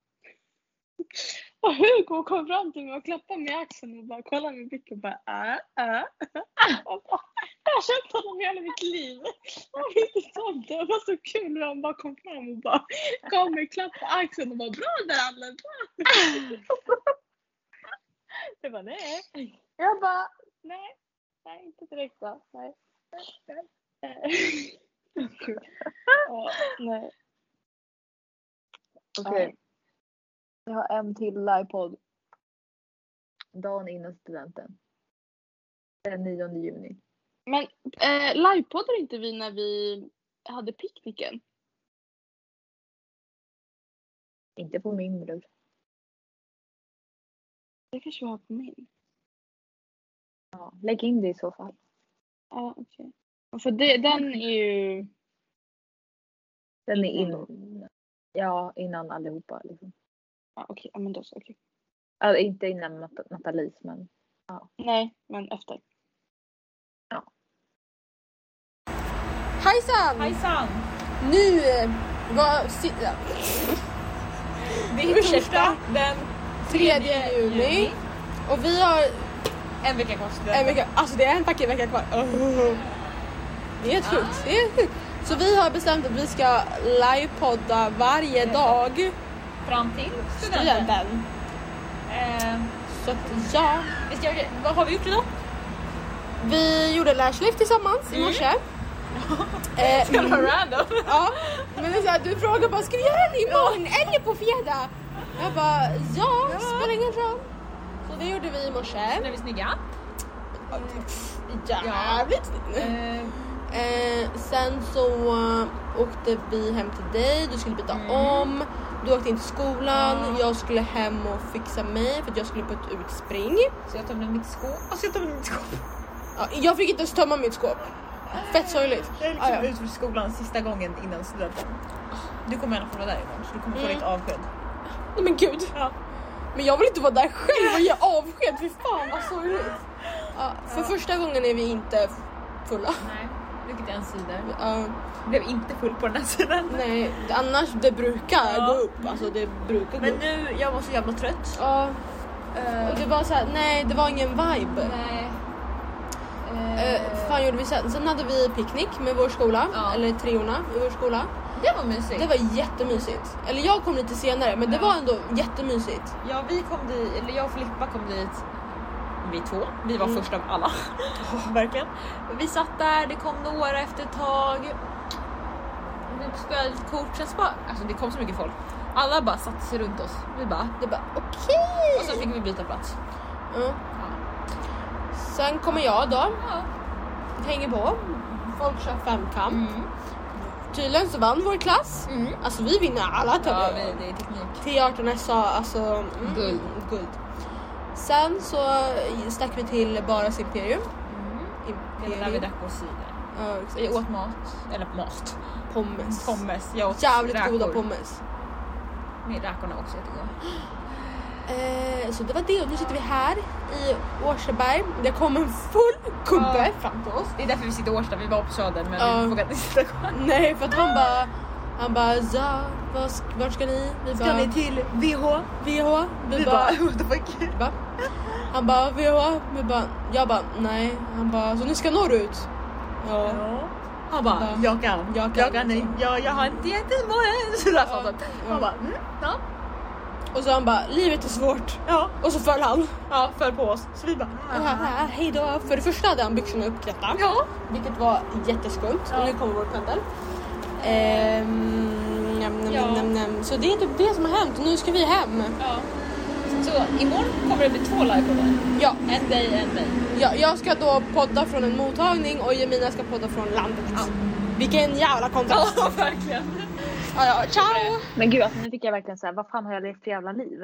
Och Hugo kom fram till mig och klappade mig i axeln och bara kollade mig i blicken och bara äh, äh. Och bara, Jag har känt honom hela mitt liv. Jag visste inte om det. Det var så kul när han bara kom fram och bara gav mig en klapp på axeln och bara bra där alla, bra. Jag bara nej. Jag bara nej, nej inte direkt då. Nej. nej, nej." Ja, nej.
Okej. Jag har en till livepodd. Dagen innan studenten. Den 9 juni.
Men eh, livepoddade inte vi när vi hade picknicken?
Inte på min bror.
Det kanske var på min.
Ja, lägg in det i så fall.
Ja, okej. Och För det, den är ju...
Den är in, ja, innan allihopa. Liksom.
Ja, okej, ja, men då så. Okej.
Alltså, inte innan Nat- Nathalies men ja.
Nej, men efter.
Hejsan!
Hejsan!
Nu eh, var... si- ja.
Det är torsdag den
3 juni. Och vi har...
En vecka kvar
En vecka, alltså det är en fucking vecka kvar. Oh. Det är helt sjukt. Det är helt sjukt. Så vi har bestämt att vi ska livepodda varje dag.
Fram till Ehm,
Studenten. Så att ja.
Vi ska, vad har vi gjort idag?
Vi gjorde lashlift tillsammans i morse. Eh,
Ska Mm. det vara random?
Ja, men det är så här, du frågar bara ska vi göra det imorgon eller på fredag? Jag bara ja, spelar ingen roll. Så det gjorde vi i morse.
Blev vi snygga?
Jävligt eh, Sen så eh, åkte vi hem till dig, du skulle byta
Mm.
om. Du åkte in till skolan, jag skulle hem och fixa mig för att jag skulle på ett utspring.
Så jag tömde mitt skåp.
Alltså jag tömde mitt skåp. Ja, jag fick inte ens tömma mitt skåp. Fett sorgligt.
Jag är liksom
Ah, ja.
ut från skolan sista gången innan studenten. Du kommer i alla fall vara där imorgon så du kommer få
Mm.
ditt avsked.
Nej men gud. Men jag vill inte vara där själv och ge avsked. Fy fan vad sorgligt. Ja, för första gången är vi inte fulla.
Nej, vilket är en sida.
Ja.
Blev inte full på den här sidan.
Nej, annars det brukar
Ja.
gå upp. Alltså det brukar
Men
gå upp.
nu, jag var så jävla trött.
Ja. Och det var så här, nej det var ingen vibe.
Nej.
Eh, fan gjorde vi sen? Sen hade vi picknick med vår skola, eller treorna i vår skola.
Det var mysigt.
Det var jättemysigt. Eller jag kom lite senare men det var ändå jättemysigt.
Ja, vi kom dit, eller jag och Filippa kom dit. Vi två, vi var
Mm.
först av alla. Verkligen. Vi satt där, det kom några efter ett tag. Vi spelade lite kort, sen så bara, alltså det kom så mycket folk. Alla bara satte sig runt oss. Vi bara,
det bara okej.
Och sen fick vi byta plats.
Ja. Sen kommer jag då. Hänger på. Folk kör femkamp. Tydligen så vann vår klass. Alltså vi vinner alla
Ja,
tävlingar.
vi, det är teknik.
T18 SA, alltså mm,
Guld.
guld. Sen så stack vi till Baras Imperium.
Det var där vi drack vår cider.
Ja, exakt.
Vi åt mat, eller mat.
Pommes.
Pommes. Jag åt
Jävligt
räkor.
goda pommes.
Min räkorna är också jättegoda.
Eh, så det var det och nu sitter vi här i Årstaberg. Det kom en full gubbe
Ja.
fram till oss.
Det är därför vi sitter i Årsta, vi var på Söder men
Ja.
vi vågade inte sitta kvar.
Nej för att han bara han bara ja, vad ska- vart ska ni? Vi
Ska
bara,
ni till
VH? VH? Vi,
Vi
bara
bara,
what the fuck? Va? Han bara VH? Vi bara, jag bara nej. Han bara så ni ska norrut? Ja.
Han bara, jag kan.
Jag
Jag kan,
liksom."
nej, jag, jag har inte gett en månad. Så där sa han. Han bara, mm, ja.
Och så han bara livet är svårt. Ja. Och så föll han.
Ja, föll på oss. Så vi bara
ah. hej då. För det första hade han byxorna uppknäppta. Ja. Vilket var jätteskumt. Och nu kommer vår pendel. Ehm, nam, nam,
Ja.
nam, nam. Så det är typ det som har hänt och nu ska vi hem.
Ja. Så imorgon kommer det bli två livepoddar.
Ja.
En dig, en dig.
Ja, jag ska då podda från en mottagning och Jemina ska podda från landet. Vilken jävla kontrast.
Ja, verkligen.
Ja, ja, ciao!
Men gud alltså, nu fick jag verkligen såhär, vad fan har jag levt för jävla liv?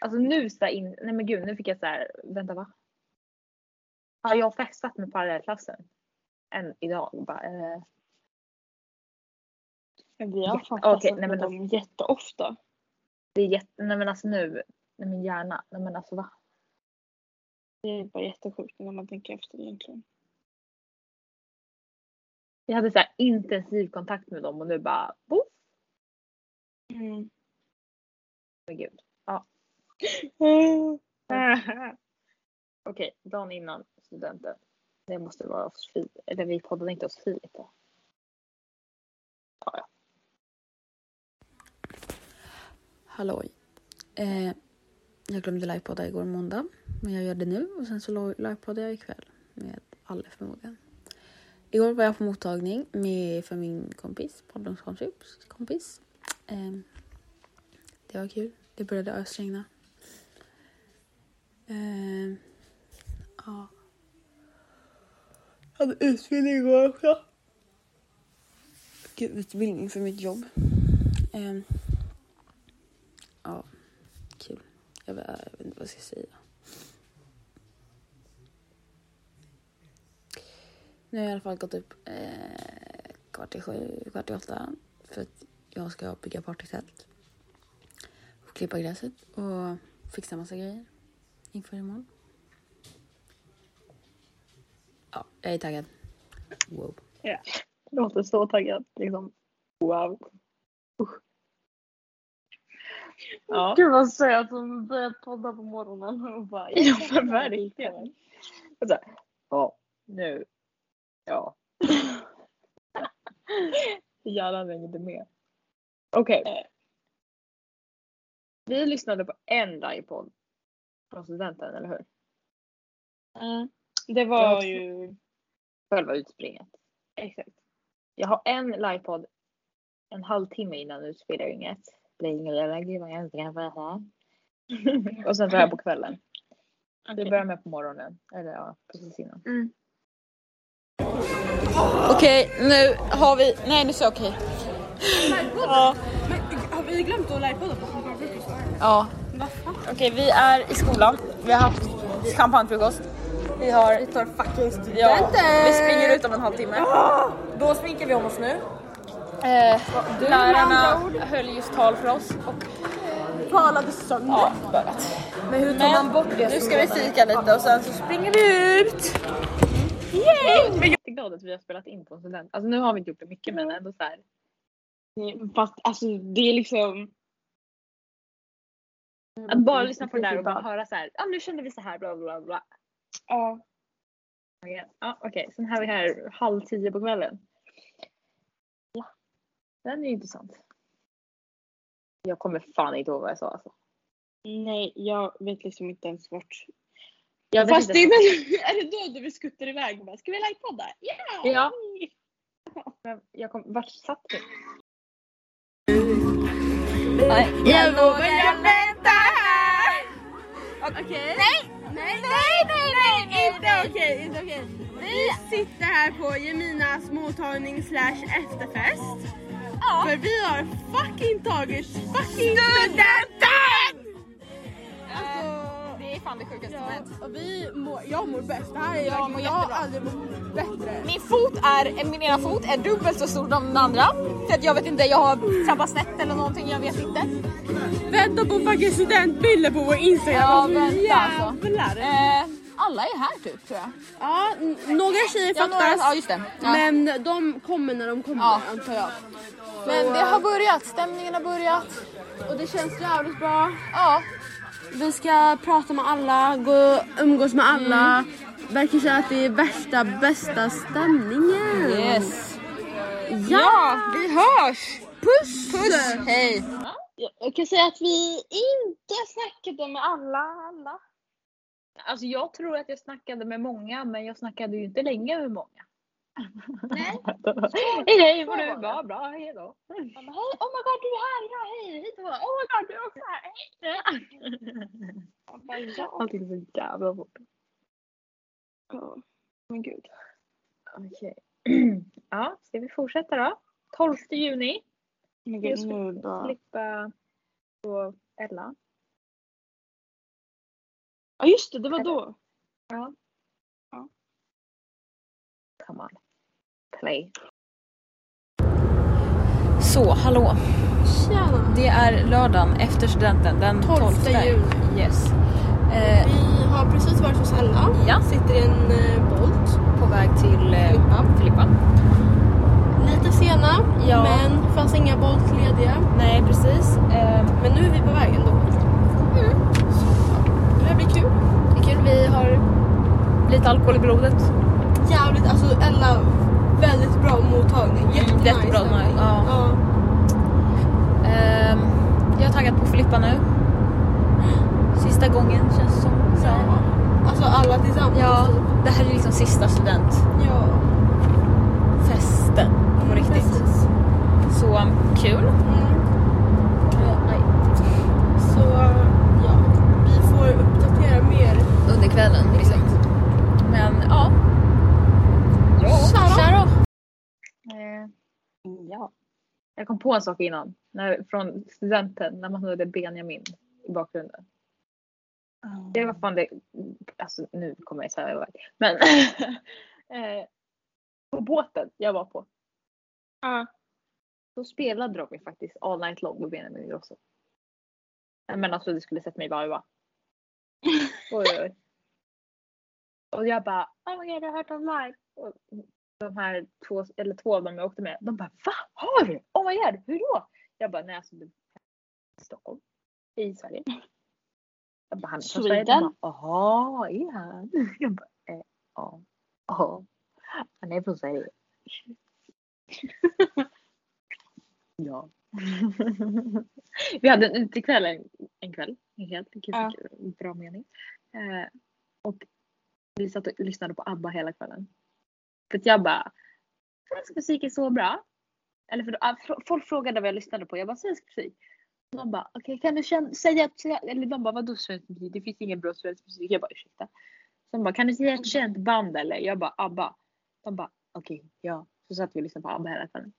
alltså nu så här in, nej men gud nu fick jag såhär, vänta va? Har jag festat med parallellklassen? Än idag bara. Eh,
Vi har fan
Okej,
fastnat
nej, men
med
då-
dem jätteofta.
Det är jätte... Nej men alltså nu. Nej men hjärna. Nej men alltså va?
Det är bara jättesjukt när man tänker efter egentligen.
Vi hade så här intensiv kontakt med dem och nu bara boff.
Mm.
Men gud. Ja. Okej, dagen innan studenten. Det måste vara hos Filip. Eller vi poddade inte hos Filip. då.
Halloj. Eh, jag glömde livepodda igår måndag, men jag gör det nu och sen så lo- livepoddar jag ikväll med all förmågan. Igår var jag på mottagning med, för min kompis, barndomskompis. Kompis. Eh, det var kul. Det började ösregna. Eh, ja. Hade utbildning igår också. Gud, utbildning för mitt jobb. Ehm, ja, kul. Jag vet, jag vet inte vad jag ska säga. Nu har jag i alla fall gått upp eh, kvart i sju, kvart i åtta för att jag ska bygga partytält. Och klippa gräset och fixa massa grejer inför imorgon. Ja, jag är taggad. Wow.
Ja. Låter så taggad. Liksom. Wow. Ja.
Gud vad söt som börjar podda på morgonen och bara
Ja, men verkligen. Och så här, Ja, nu. Ja. Hjärnan hängde med. Okej. Vi lyssnade på en livepodd från studenten, eller hur?
Mm. Det
Jag
var
har två-
ju...
Själva utspringet. Exakt. Jag har en livepodd en halvtimme innan utspelningen. Och sen så här på kvällen. Vi börjar med på morgonen. Eller ja, precis innan.
Okej, nu har vi... Nej, nu sa jag okej.
Ja. Men har vi glömt att livepodda på champagnefrukost?
Ja. Okej, vi är i skolan. Vi har haft champagnefrukost. Vi har... Vi tar fucking studenten! Ja, vi springer ut om en halvtimme. Då sminkar vi om oss nu. Eh,
Du, med
lärarna
andra ord.
höll just tal för oss och... Talade sönder. Ja, börjat. Men hur tar man bort det? Nu ska vi fika lite och sen så springer vi ut.
Yay! Jag är jätteglad att vi har spelat in på en student. Alltså nu har vi inte gjort det mycket men ändå så här.
Fast alltså det är liksom...
Att bara lyssna på Mm, det där och bara höra så här. Ja ah, nu kände vi så här bla bla bla.
Ja.
Ja okej, sen har vi här halv tio på kvällen. Ja. Den är ju intressant. Jag kommer fan inte ihåg vad jag sa alltså.
Nej, jag vet liksom inte ens vart...
Jag vet
Fast
inte
det är,
ens-
väl, är det då du vi skuttar iväg och bara ska vi livepodda? Yeah!
Ja. Men Jag kom, vart satt vi?
Jag lovar jag väntar här! Okej. Nej, nej, nej, nej, nej,
Inte okej, inte okej. Vi sitter här på Jeminas mottagning slash efterfest. För vi har fucking tagit fucking studenten!
Eh, Det är fan det sjukaste som hänt.
Och vi mår, jag mår bäst. Det här är jag,
Jag mår
jag har
jättebra.
aldrig mått bättre.
Min fot är, min ena fot är dubbelt så stor som den andra. För att jag vet inte, jag har trampat snett eller någonting, jag vet inte.
Vänta på fucking studentbilder på vår Instagram.
Ja,
Alltså,
vänta alltså.
jävlar.
Eh, alla är här typ tror jag.
Ja, n- några tjejer
Ja,
fattas.
några- ja, just det. Ja.
Men de kommer när de kommer antar jag.
Men det har börjat, stämningen har börjat.
Och det känns jävligt bra.
Ja.
Vi ska prata med alla, gå, umgås med alla.
Mm.
Verkar säga att det är värsta, bästa stämningen.
Yes.
Ja,
vi hörs!
Puss!
Puss! Hej!
Jag, jag kan säga att vi inte snackade med alla. alla.
Alltså jag tror att jag snackade med många men jag snackade ju inte länge med många. Hej hej vad du bra bra hejdå.
Hej, oh my god du är här! Ja, hej! Hej Tova! Oh my god du är också här! Hej! Jag bara,
Allting är så jävla fort.
ja. Men gud.
Okej. Ja, ska vi fortsätta då? 12 juni.
Men
Jag
gud,
ska
Oh nu bara...
slippa på Ella.
Ja just det, det var då.
Ja.
Ja.
Come on. Play.
Så, hallå.
Tjena.
Det är lördagen efter studenten, den 12,
12 juni.
Yes. Eh,
Vi har precis varit hos Ella. Sitter i en eh, Bolt.
På väg till eh, Filippa.
Lite sena,
Ja.
men det fanns inga Bolt lediga.
Nej, precis. Eh, Mm.
Men nu är vi på väg ändå. Så, det här blir kul.
Det är kul. Vi har lite alkohol i blodet.
Jävligt, alltså Ella, väldigt bra mottagning. Jättenice.
Jättebra
stämning.
night, ja. Ehm, jag är taggad på Filippa nu. Sista gången känns det som. Så.
Alltså alla tillsammans. typ.
Ja, det här är liksom sista student.
Ja. Mm,
Festen på riktigt. Så um, kul.
Så ja, vi får uppdatera mer.
Under kvällen liksom. Men ja.
Tja då.
Tja då.
Eh, ja. Jag kom på en sak innan. När, från studenten, när man hörde Benjamin i bakgrunden. Det var fan det, alltså nu kommer jag säga iväg. Men eh, på båten jag var på. Uh. Då spelade de ju faktiskt All Night Long med Benjamin Ingrosso. Nej, Men alltså du skulle sett mig varva. Oj, oj, oj. Och jag bara oh my god jag har hört dem live. Och de här två, eller två av dem jag åkte med, de bara va? Har du? Oh my god, hur då? Jag bara nej alltså du i Stockholm, i Sverige. Jag bara han är från Sverige. De bara,
Sweden.
Jaha, är han? Jag bara eh, ja. Ja. Han är från Sverige. ja. Vi hade en utekväll en, en kväll. En helt ja. bra mening. Eh, och vi satt och lyssnade på ABBA hela kvällen. För att jag bara, svensk musik är så bra. Eller för, då- ah, fr- folk frågade vad jag lyssnade på. Jag bara, svensk musik. De bara, okej kan du känna, säga, säga, eller de bara, vadå svensk musik? Det finns ingen bra svensk musik. Jag bara, ursäkta. Så de bara, kan du säga ett känt band eller? Jag bara, ABBA. De bara, okej, ja. Så satt vi och lyssnade på ABBA hela kvällen.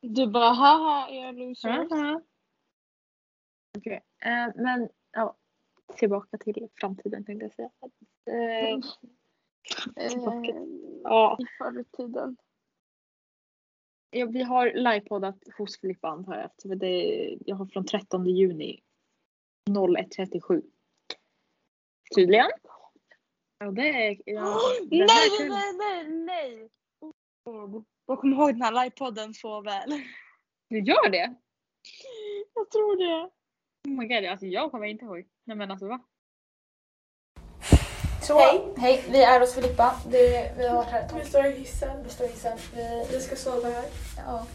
Du bara haha, är jag loser?
Haha. Okej, eh, men ja. Tillbaka till framtiden tänkte jag säga. Eh,
Eh,
tillbaka.
Ja.
I förr i tiden. Ja, vi har livepoddat hos Filippa antar jag. eftersom det, jag har från 13 juni 01.37. Tydligen. Ja, det är... Ja,
Nej,
den här
nej,
kvällen-
nej, nej, nej! Jag kommer ihåg den här livepodden så väl.
Du gör det?
Jag tror det.
Oh my god, alltså jag kommer inte ihåg. Nej men alltså va?
Så. Hej, hej, vi är hos Filippa. Det, vi har varit här ett tag. Vi står i hissen. Vi står i hissen. Vi, ska sova här. Ja.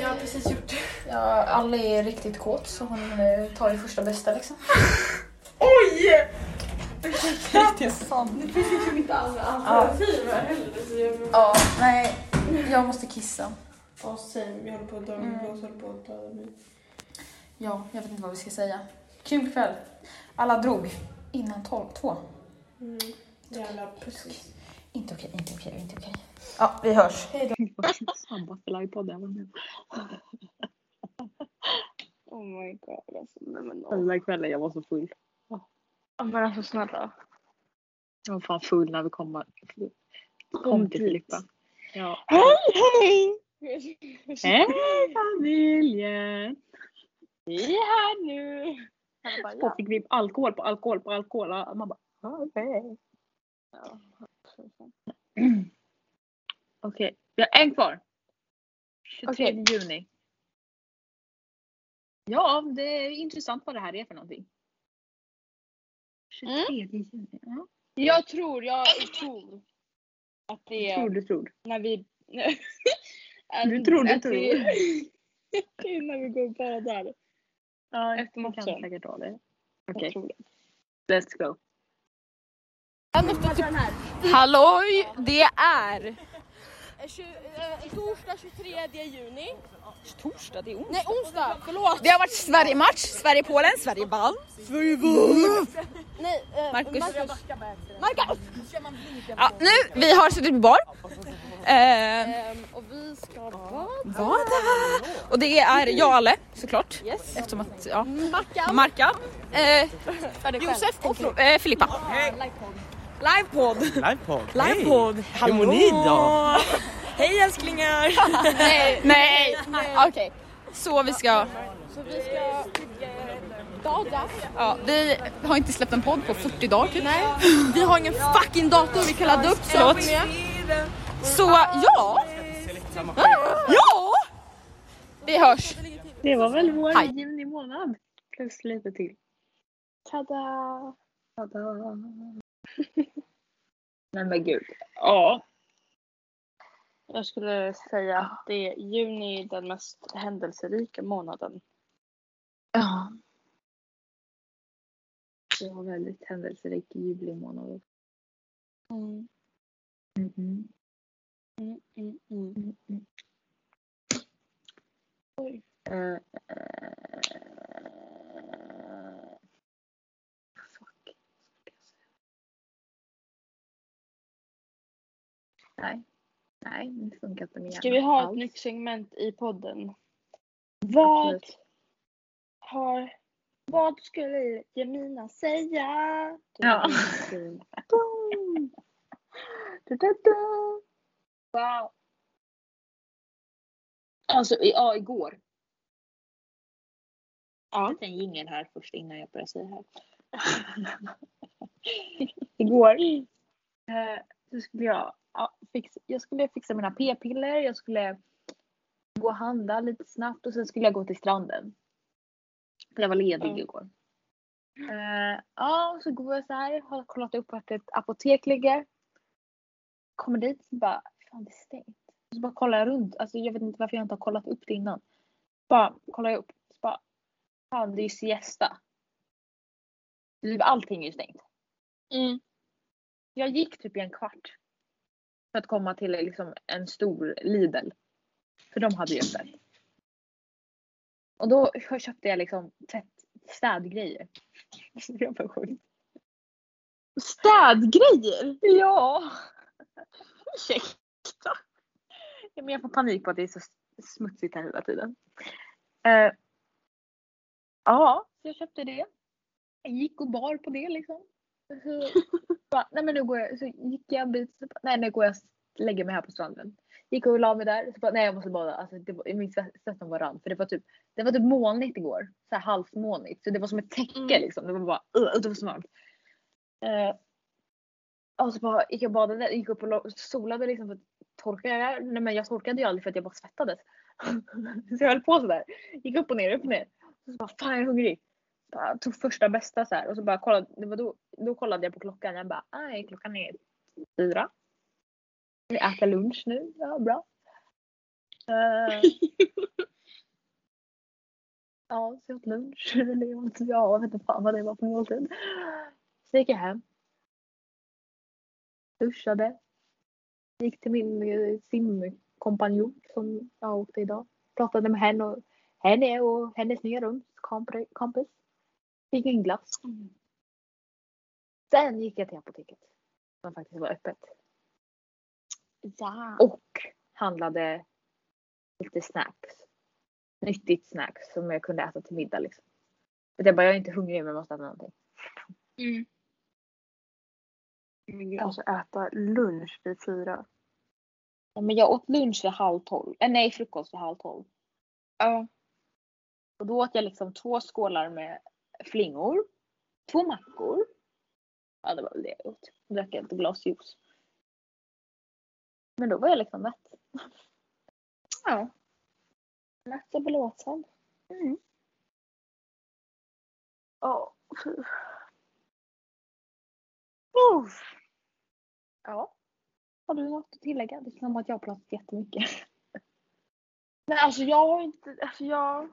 Jag har precis gjort det. Ja, Alli är riktigt kåt så hon eh, tar det första bästa liksom. Oj! Riktigt sant.
Det finns liksom inte andra
alternativ här
heller. Så jag...
Ja, nej. Jag måste kissa.
Ja, same. Jag håller på att dö av min
Mm.
blåsa, håller på att dö av min-
Ja, jag vet inte vad vi ska säga. Kul kväll. Alla drog innan tolv, två.
Mm,
Jävla pussy.
Inte okej, inte okej, inte okej. Ja, vi hörs. Hej
då. Snabbaste livepodden jag var med
Oh my god alltså. Nej, men,
Den där kvällen jag var så full.
Ja, men alltså snälla.
Jag var fan full när vi kom, kom
Kom
till
dit.
Filippa. Ja.
Hej hej!
Hej familjen!
Vi är här nu.
Så fick vi alkohol på alkohol på alkohol. Ja, Man bara "Ja, okej. Okej, vi har en kvar. 23 juni. Ja, det är intressant vad det här är för någonting. 23 juni. Ja.
Jag tror, jag tror att det är
Tror du tror.
när vi...
Du tror, du
att
tror.
vi- Det är när vi går och badar.
Ja,
Efter
Vi kan
matchen.
säkert ha det. Okej. Let's go.
Halloj, det är...
Torsdag 23 juni.
Torsdag, det är
Nej onsdag, förlåt.
Det har varit Sverige-match, Sverige-Polen, Sverige vann. Sverige
Nej, eh,
Marcus.
Marcus.
Marcus! Ja, nu, vi har suttit på bar. Eh,
Ehm, och vi ska bada.
Vad? Och det är jag och Alle såklart. Eftersom att, ja. Marka. Marka. Eh, Josef och eh, Filippa. Livepodd.
Livepodd.
Livepodd.
Hej. Hur mår ni idag?
Hej älsklingar!
Nej.
Nej.
Nej.
Okej, så vi ska...
Så vi ska... Dada.
Ja, vi har inte släppt en podd på 40 dagar typ. Nej. Vi har ingen fucking dator vi kan ladda upp så
Förlåt.
Så ja! Ja! Vi hörs!
Det var väl vår
Hej.
juni månad. Plus lite till. Tada! Tada!
Nej men gud.
Ja. Jag skulle säga att det är juni den mest händelserika månaden.
Ja. Det var väldigt händelserik julimånad.
Mm.
Mm-hmm.
Mm, mm, mm. Oj.
Eh, Nej. Nej, det funkar inte med
Ska vi ha ett
alls.
nytt segment i podden? Vad har... Vad skulle Jemina säga?
Ja.
Boom. Du-du-du. Wow. Alltså, i- ja, igår. Ja. Jag en jingel här först innan jag börjar säga här. igår. Eh, så skulle jag, ja, fix, jag skulle fixa mina p-piller, jag skulle gå och handla lite snabbt och sen skulle jag gå till stranden. För jag var ledig igår. Eh, ja, och så går jag så här, har kollat upp vart ett apotek ligger. Kommer dit och bara, fan det är stängt. Så bara kollar jag runt, alltså jag vet inte varför jag inte har kollat upp det innan. Bara kollar jag upp, så bara, fan det är ju siesta. Typ Allting är ju stängt. Jag gick typ i en kvart. För att komma till liksom en stor Lidl. För de hade ju öppet. Och då köpte jag liksom tvätt, städgrejer. Så jag var sjukt. Städgrejer? Ja! Ursäkta. Ja, men jag får panik på att det är så smutsigt här hela tiden. Eh, ja, så jag köpte det. Jag gick och bar på det liksom. Så bara, nej men nu går jag, så gick jag en bit, så bara, nej nu går jag och lägger mig här på stranden. Gick och la mig där, så bara, nej jag måste bada. Alltså, det var, min svett- svetten var rann, för det var typ, det var typ molnigt igår. Så här halvmånigt, så det var som ett täcke liksom. Det var bara, uh, det var så varmt. Eh, och så bara gick jag och badade, gick upp och la- solade liksom för att torka det här. Nej men jag torkade ju aldrig för att jag bara svettades. så jag höll på sådär. Gick upp och ner, upp och ner. Och så bara, fan jag är hungrig. Bara, tog första bästa så här och så bara kollade, det var då, då kollade jag på klockan. Jag bara, nej klockan är fyra. Vi äter lunch nu, ja bra. Eh, ja, så jag åt lunch. Eller jag åt, ja, jag vet inte fan vad det var för måltid. Så gick jag hem. Duschade. Gick till min eh, simkompanjon som jag åkte idag. Pratade med henne och henne och hennes nya rumskompis. Fick en glass. Sen gick jag till apoteket. Som faktiskt var öppet. Ja.
Och handlade lite snacks. Nyttigt snacks som jag kunde äta till middag liksom. För jag bara, jag är inte hungrig men jag måste äta någonting.
Mm.
Alltså äta lunch vid fyra. Ja, men jag åt lunch vid halv tolv. Äh, nej, frukost vid halv tolv.
Ja.
Och då åt jag liksom två skålar med flingor. Två mackor. Ja, det var väl det jag åt. Och drack ett glas juice. Men då var jag liksom mätt. Ja. Mätt och belåten. Mm. Ja, fy. Uff. Ja. Har du något att tillägga? Det känns som att jag har pratat jättemycket.
Nej, alltså jag har inte... Alltså jag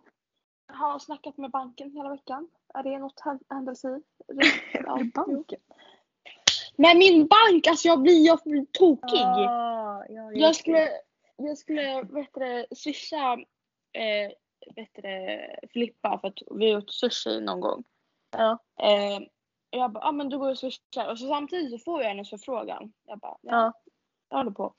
har snackat med banken hela veckan. Är det något hän- händelse i? banken? Nej, min bank! Alltså jag blir, jag blir tokig.
Ja, ja,
jag skulle, jag skulle vet du, swisha eh, vet du, Filippa för att vi åt sushi någon gång.
Ja.
Eh, och jag bara, ja ah, men du går och swishar. Och så samtidigt så får jag hennes förfrågan. Jag bara, ja.
Ja.
Jag håller på.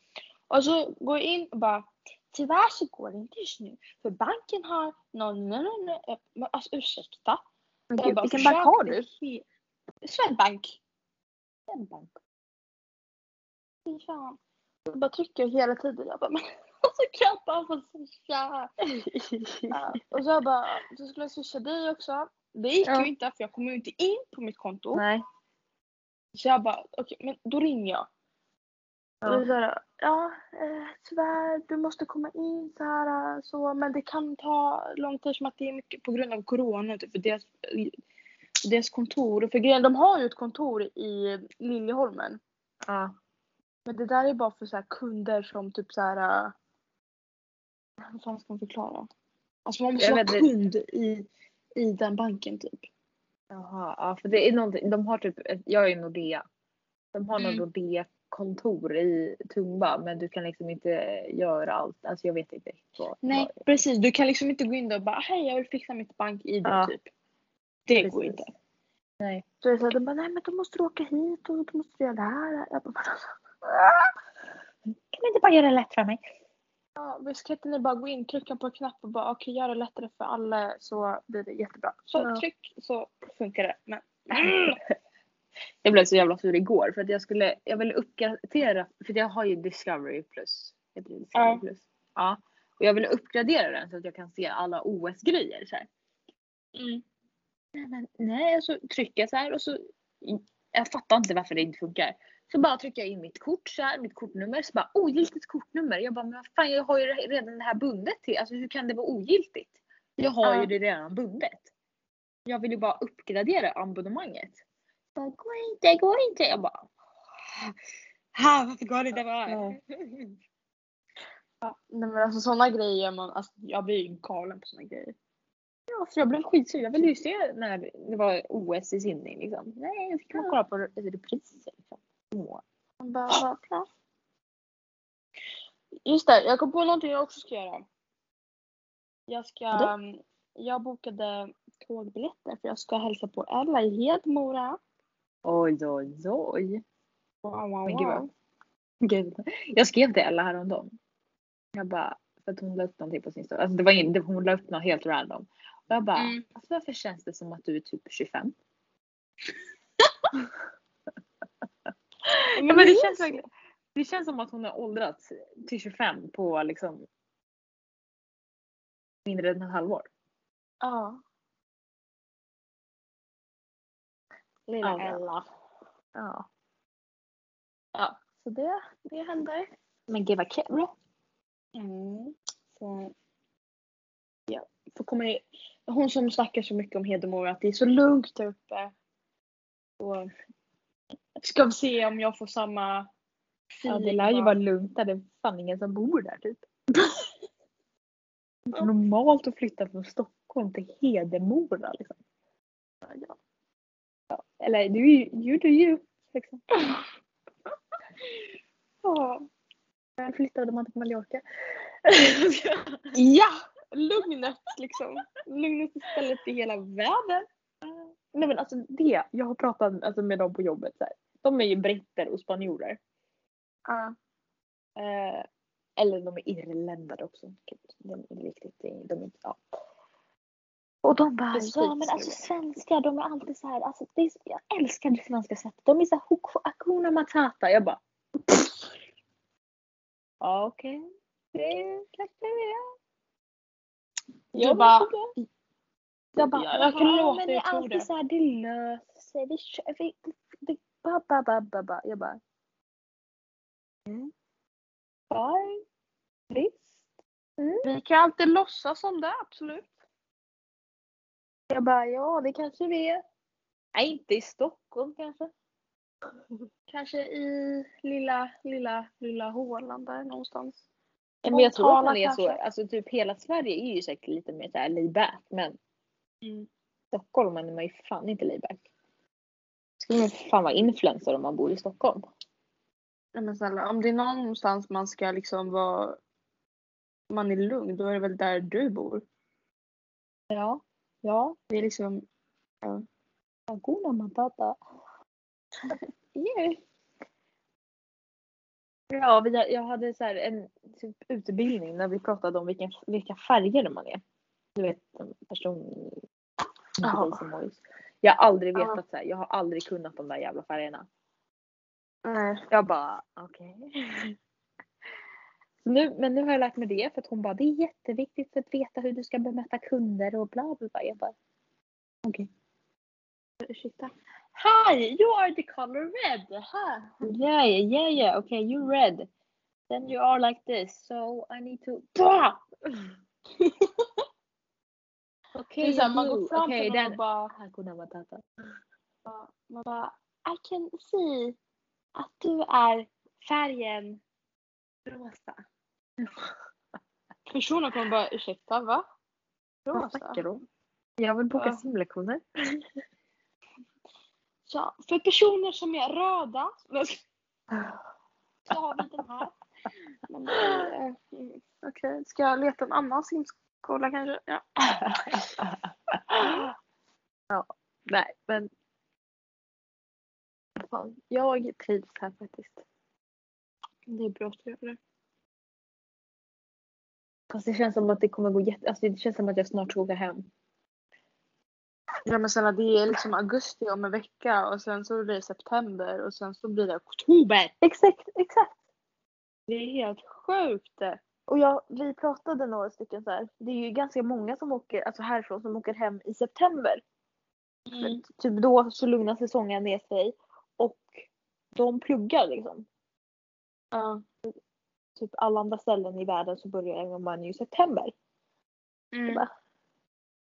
Och så går jag in och bara, tyvärr så går det inte just nu. För banken har någon, nej, nej, nej. Jag- men Alltså ursäkta.
Men
Jag
gud,
bara,
vilken
försök
bank har
det
du?
he- Swedbank.
Swedbank.
Fy fan.
Så bara trycker jag hela tiden. Jag bara, men alltså, och så klappar han på swisha. Ja, och så jag bara, så skulle jag swisha dig också. Det gick
Ja.
ju inte för jag kom ju inte in på mitt konto.
Nej.
Så jag bara, okej men då ringer jag.
Ja.
Och då så här, ja eh, tyvärr du måste komma in så här eh, så men det kan ta lång tid som att det är mycket på grund av corona typ, för deras, för deras kontor. För grejen, de har ju ett kontor i Liljeholmen.
Ja.
Men det där är bara för så här kunder som typ så här. eh, Vad fan ska man förklara? Alltså man måste
Jag
vara
vet inte.
kund i, i den banken typ.
Jaha, ja, för det är någonting. De har typ, ett- jag är ju Nordea. De har
Mm.
något Nordea-kontor i Tumba men du kan liksom inte göra allt. Alltså jag vet inte riktigt vad.
Nej precis, du kan liksom inte gå in där och bara hej jag vill fixa mitt bank-id
Ja.
typ. Det går inte.
Nej.
Så jag sa, de bara nej men då måste du åka hit och då måste du göra det här. Jag bara,
Kan du inte bara göra det lätt för mig?
ja, visst kan inte ni bara gå in, trycka på en knapp och bara okej gör det lättare för alla så blir det jättebra. Så
Ja.
tryck så funkar det. Men
Jag blev så jävla sur igår för att jag skulle, jag ville uppgradera, för jag har ju Discovery plus. Heter det Discovery
Ja.
plus? Ja. Och jag ville uppgradera den så att jag kan se alla OS-grejer så här.
Mm.
Nej, men, nej, och så trycker jag så här och så. Jag fattar inte varför det inte funkar. Så bara trycker jag in mitt kort så här, mitt kortnummer. Så bara ogiltigt kortnummer. Jag bara, men vad fan jag har ju redan det här bundet till. Alltså hur kan det vara ogiltigt? Jag har ju
Ja.
det redan bundet. Jag vill ju bara uppgradera abonnemanget. Bara, går inte, går inte. Jag bara. Ha, varför går det inte bara?
Ja, nej men alltså sådana grejer gör man, alltså jag blir ju galen på sådana grejer.
Ja, för jag blev skitsur. Jag ville ju se när det var OS i simning liksom. Nej, då fick man kolla på repriser. Liksom. Åh.
Man bara, bara plats. Just det, jag kom på någonting jag också ska göra. Jag ska, mm,
Vadå?
jag bokade tågbiljetter för jag ska hälsa på Ella i Hedmora.
Oj, oj, oj.
Wow, wow,
Men gud
wow.
vad Gud. Jag skrev till Ella häromdagen. Jag bara, för att hon la upp någonting på sin story. Alltså det var in, det, hon la upp något helt random. Och jag bara,
Mm.
alltså varför känns det som att du är typ 25? ja, men
det
det,
är
känns
så.
verkligen, det känns som att hon har åldrats till 25 på liksom mindre än ett halvår.
Ja. Lilla
Ja.
Ella.
Ja.
Ja, så det, det händer.
Men gud vad kul.
Mm. Så, ja. Får komma i, hon som snackar så mycket om Hedemora att det är så lugnt där uppe. Och, ska vi se om jag får samma
Ja, det lär ju vara lugnt där. Det är fan ingen som bor där typ. Det är normalt att flytta från Stockholm till Hedemora liksom.
Ja.
Ja, eller du är ju, you do you. Liksom.
Ja.
Där flyttade man till Mallorca.
ja, lugnet liksom. Lugnaste stället i hela världen.
Nej men alltså det, jag har pratat alltså, med dem på jobbet så här. De är ju britter och spanjorer.
Ja.
Eh, eller de är irländare också. De är riktigt, eh, de är inte, ja. Och de bara,
Precis.
ja men alltså svenskar de är alltid så här, alltså det är, jag älskar det svenska sättet. De är så här "Huk- hakuna matata. Jag bara. Ja okej. Det kanske det är.
Jag
Jag
bara- "Mm."
bara. Jag bara,
Ja, jag kan
"Ja,
låta
men
er
det är
tro
alltid
det."
så här, det löser sig. Vi kör, vi, vi, ba, ba, ba, ba, ba. Jag bara. Mm. Fine. Visst. Mm."
Vi kan alltid låtsas som det, absolut.
Jag bara, ja det kanske vi är. Nej, inte i Stockholm kanske.
Kanske i lilla, lilla, lilla Håland där någonstans.
Nej, Men jag tror att
Motala
man är så,
kanske.
alltså typ hela Sverige är ju säkert lite mer såhär layback men Stockholm är man ju fan inte layback. Skulle man fan vara influencer om man bor i Stockholm.
Nej men snälla, om det är någonstans man ska liksom vara... Man är lugn, då är det väl där du bor?
Ja. Ja.
Det är liksom... Ja.
Hakuna matata. yeah. Ja, vi, jag hade så här en typ utbildning när vi pratade om vilken, vilka färger man är. Du vet, en person...
Jaha.
en som har- Jag har aldrig
Ja.
vetat så här, jag har aldrig kunnat de där jävla färgerna.
Nej.
Jag bara, okej. Så nu, men nu har jag lärt mig det för att hon bara det är jätteviktigt för att veta hur du ska bemöta kunder och bla bla bla. Jag bara okej. Ursäkta. Hi, you are the color red. Huh? Yeah, yeah, yeah, yeah. Okay, you red. Then you are like this. So I need to. Bra!
Det är
okay,
så här, man
you.
går fram
okay,
till någon och
then.
bara...
Hakuna matata.
Ja, Man bara, I can see att du är färgen rosa. Personen kommer bara, ursäkta va?
Vad snackar du om? Jag vill boka
Ja.
simlektioner.
Ja, för personer som är röda så har vi den här. Men, eh, mm, Okej, ska jag leta en annan simskola kanske? Ja.
Ja, nej men. Fan, jag trivs här faktiskt.
Det är bra att du gör det.
Fast det känns som att det kommer gå jätte... Alltså det känns som att jag snart ska åka hem.
Ja men snälla det är liksom augusti om en vecka och sen så blir det september och sen så blir det oktober.
Exakt, exakt.
Det är helt sjukt.
Och jag, vi pratade några stycken så här. Det är ju ganska många som åker, alltså härifrån som åker hem i september.
Mm.
För att Typ då så lugnar säsongen ner sig och de pluggar liksom.
Ja.
Typ alla andra ställen i världen så börjar man ju i september.
Mm.
Bara,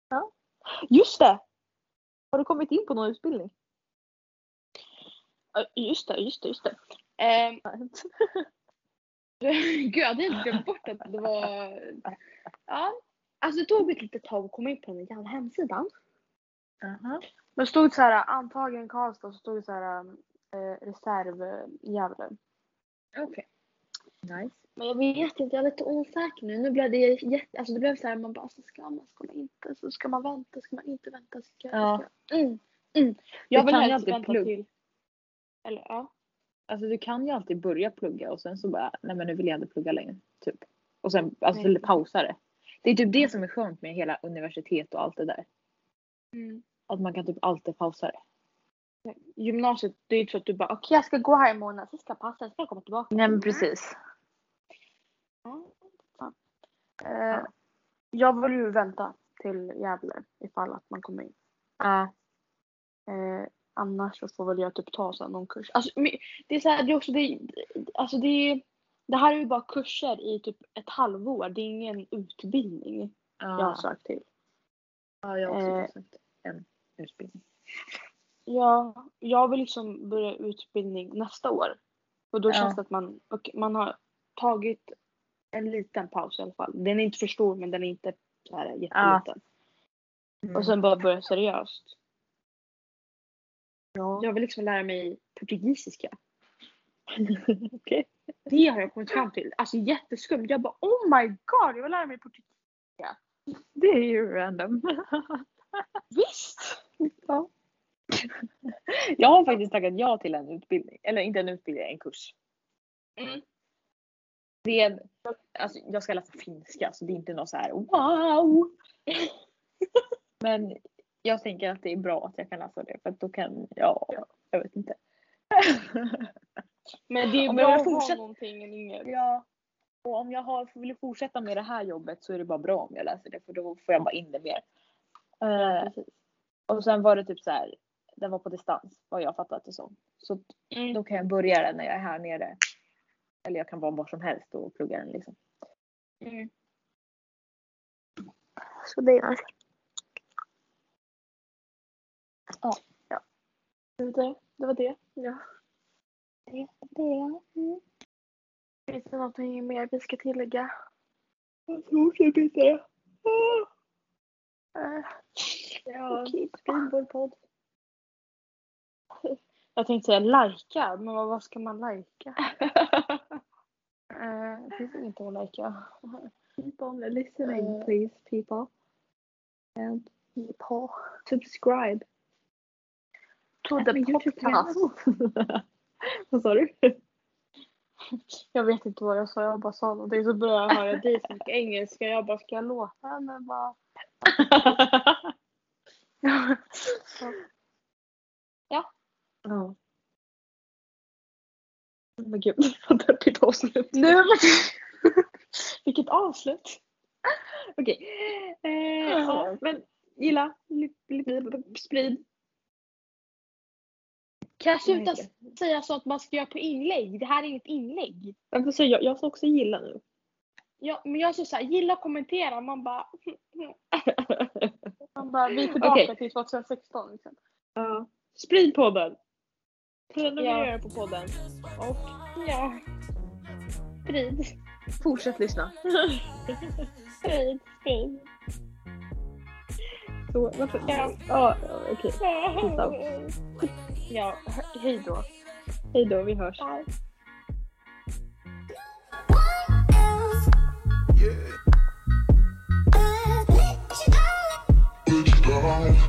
Ja. Just det! Har du kommit in på någon utbildning?
Ja, Just det, just det, just det. Ehm, Gud, jag hade helt glömt bort att det var... Ja. Alltså det tog mig ett litet tag att komma in på den jävla hemsidan. Men stod det så här antagen Karlstad så stod det så här eh, reserv eh, Gävle.
Okej. Nice.
Men jag vet inte, jag är lite osäker nu. Nu blev det jätte... Alltså det blev så här, man bara alltså, ska man, ska man inte, så ska man vänta, ska man inte vänta, ska
Ja.
ska... Mm. Mm.
Du kan ju alltid plugga.
Eller ja.
Alltså du kan ju alltid börja plugga och sen så bara, nej men nu vill jag inte plugga längre. Typ. Och sen alltså,
Nej.
pausa det. Det är typ det som är skönt med hela universitet och allt det där.
Mm.
Att man kan typ alltid pausa det.
Gymnasiet, det är ju så att du bara okej jag ska gå här i månad, sen ska jag passa, sen ska jag komma tillbaka. Mm.
Nej men precis.
Ja, fan. Mm. Eh, jag vill ju vänta till Gävle ifall att man kommer in.
Ja.
Eh, annars så får väl jag typ ta så här någon kurs. Alltså, men det är så här, det är också det, alltså det, är, det här är ju bara kurser i typ ett halvår. Det är ingen utbildning jag har sökt till.
Ja, jag har också
Eh.
sökt en utbildning.
Ja, jag vill liksom börja utbildning nästa år. Och då
Ja.
känns det att man, och man har tagit en liten paus i alla fall. Den är inte för stor men den är inte så här jätteliten. Och sen bara börja seriöst. Jag vill liksom lära mig portugisiska. Det har jag kommit fram till. Alltså jätteskumt. Jag bara oh my god jag vill lära mig portugisiska.
Det är ju random.
Visst!
Ja. Jag har faktiskt tackat ja till en utbildning. Eller inte en utbildning, en kurs.
Mm.
Det är en, alltså, jag ska läsa finska så det är inte något så här wow. Men jag tänker att det är bra att jag kan läsa det för att då kan jag, jag vet inte.
Men det är
Om
bra
jag
att ha
fortsätter-
någonting än inget.
Ja. Och om jag har, vill fortsätta med det här jobbet så är det bara bra om jag läser det för då får jag bara in det mer. Eh, och sen var det typ så här, den var på distans vad jag fattat det som. Så t- då kan jag börja den när jag är här nere. Eller jag kan vara var som helst och plugga den liksom.
Mm.
Så det är nice. Ja.
ja. Det var det. Det var det. Ja. Det, det. Mm. Finns det någonting mer vi ska tillägga? Jag tror typ inte det. Ja, fin podd. Jag tänkte säga lajka, men vad, vad ska man lajka? Eh, det finns inget att lajka. Eh.
Keep on listening please people. And
people.
Subscribe. Äh,
To the podcast.
Vad sa du?
Jag vet inte vad jag sa, jag bara sa någonting så började jag höra dig snacka engelska. Jag bara, ska jag låta henne bara... ja.
Ja. Men gud, vad deppigt avslut.
Nu, Vilket avslut. Okej. Eh, ja, men gilla li- li- li- sprid. Kan jag sluta säga sånt man ska göra på inlägg? Det här är inget inlägg. Varför säger jag? Jag ska också gilla nu. Ja, men jag sa så här, gilla och kommentera. Man bara...
Man bara, vi är tillbaka
Okej.
till 2016. Liksom.
Ja. Sprid podden. Prenumerera
Ja.
på podden. Och ja. Sprid.
Fortsätt lyssna.
Sprid, sprid. Så, varför? Ja, ja okej. Peace out. Ja, he- hej då. Hej då, vi hörs.
Bitch, darling.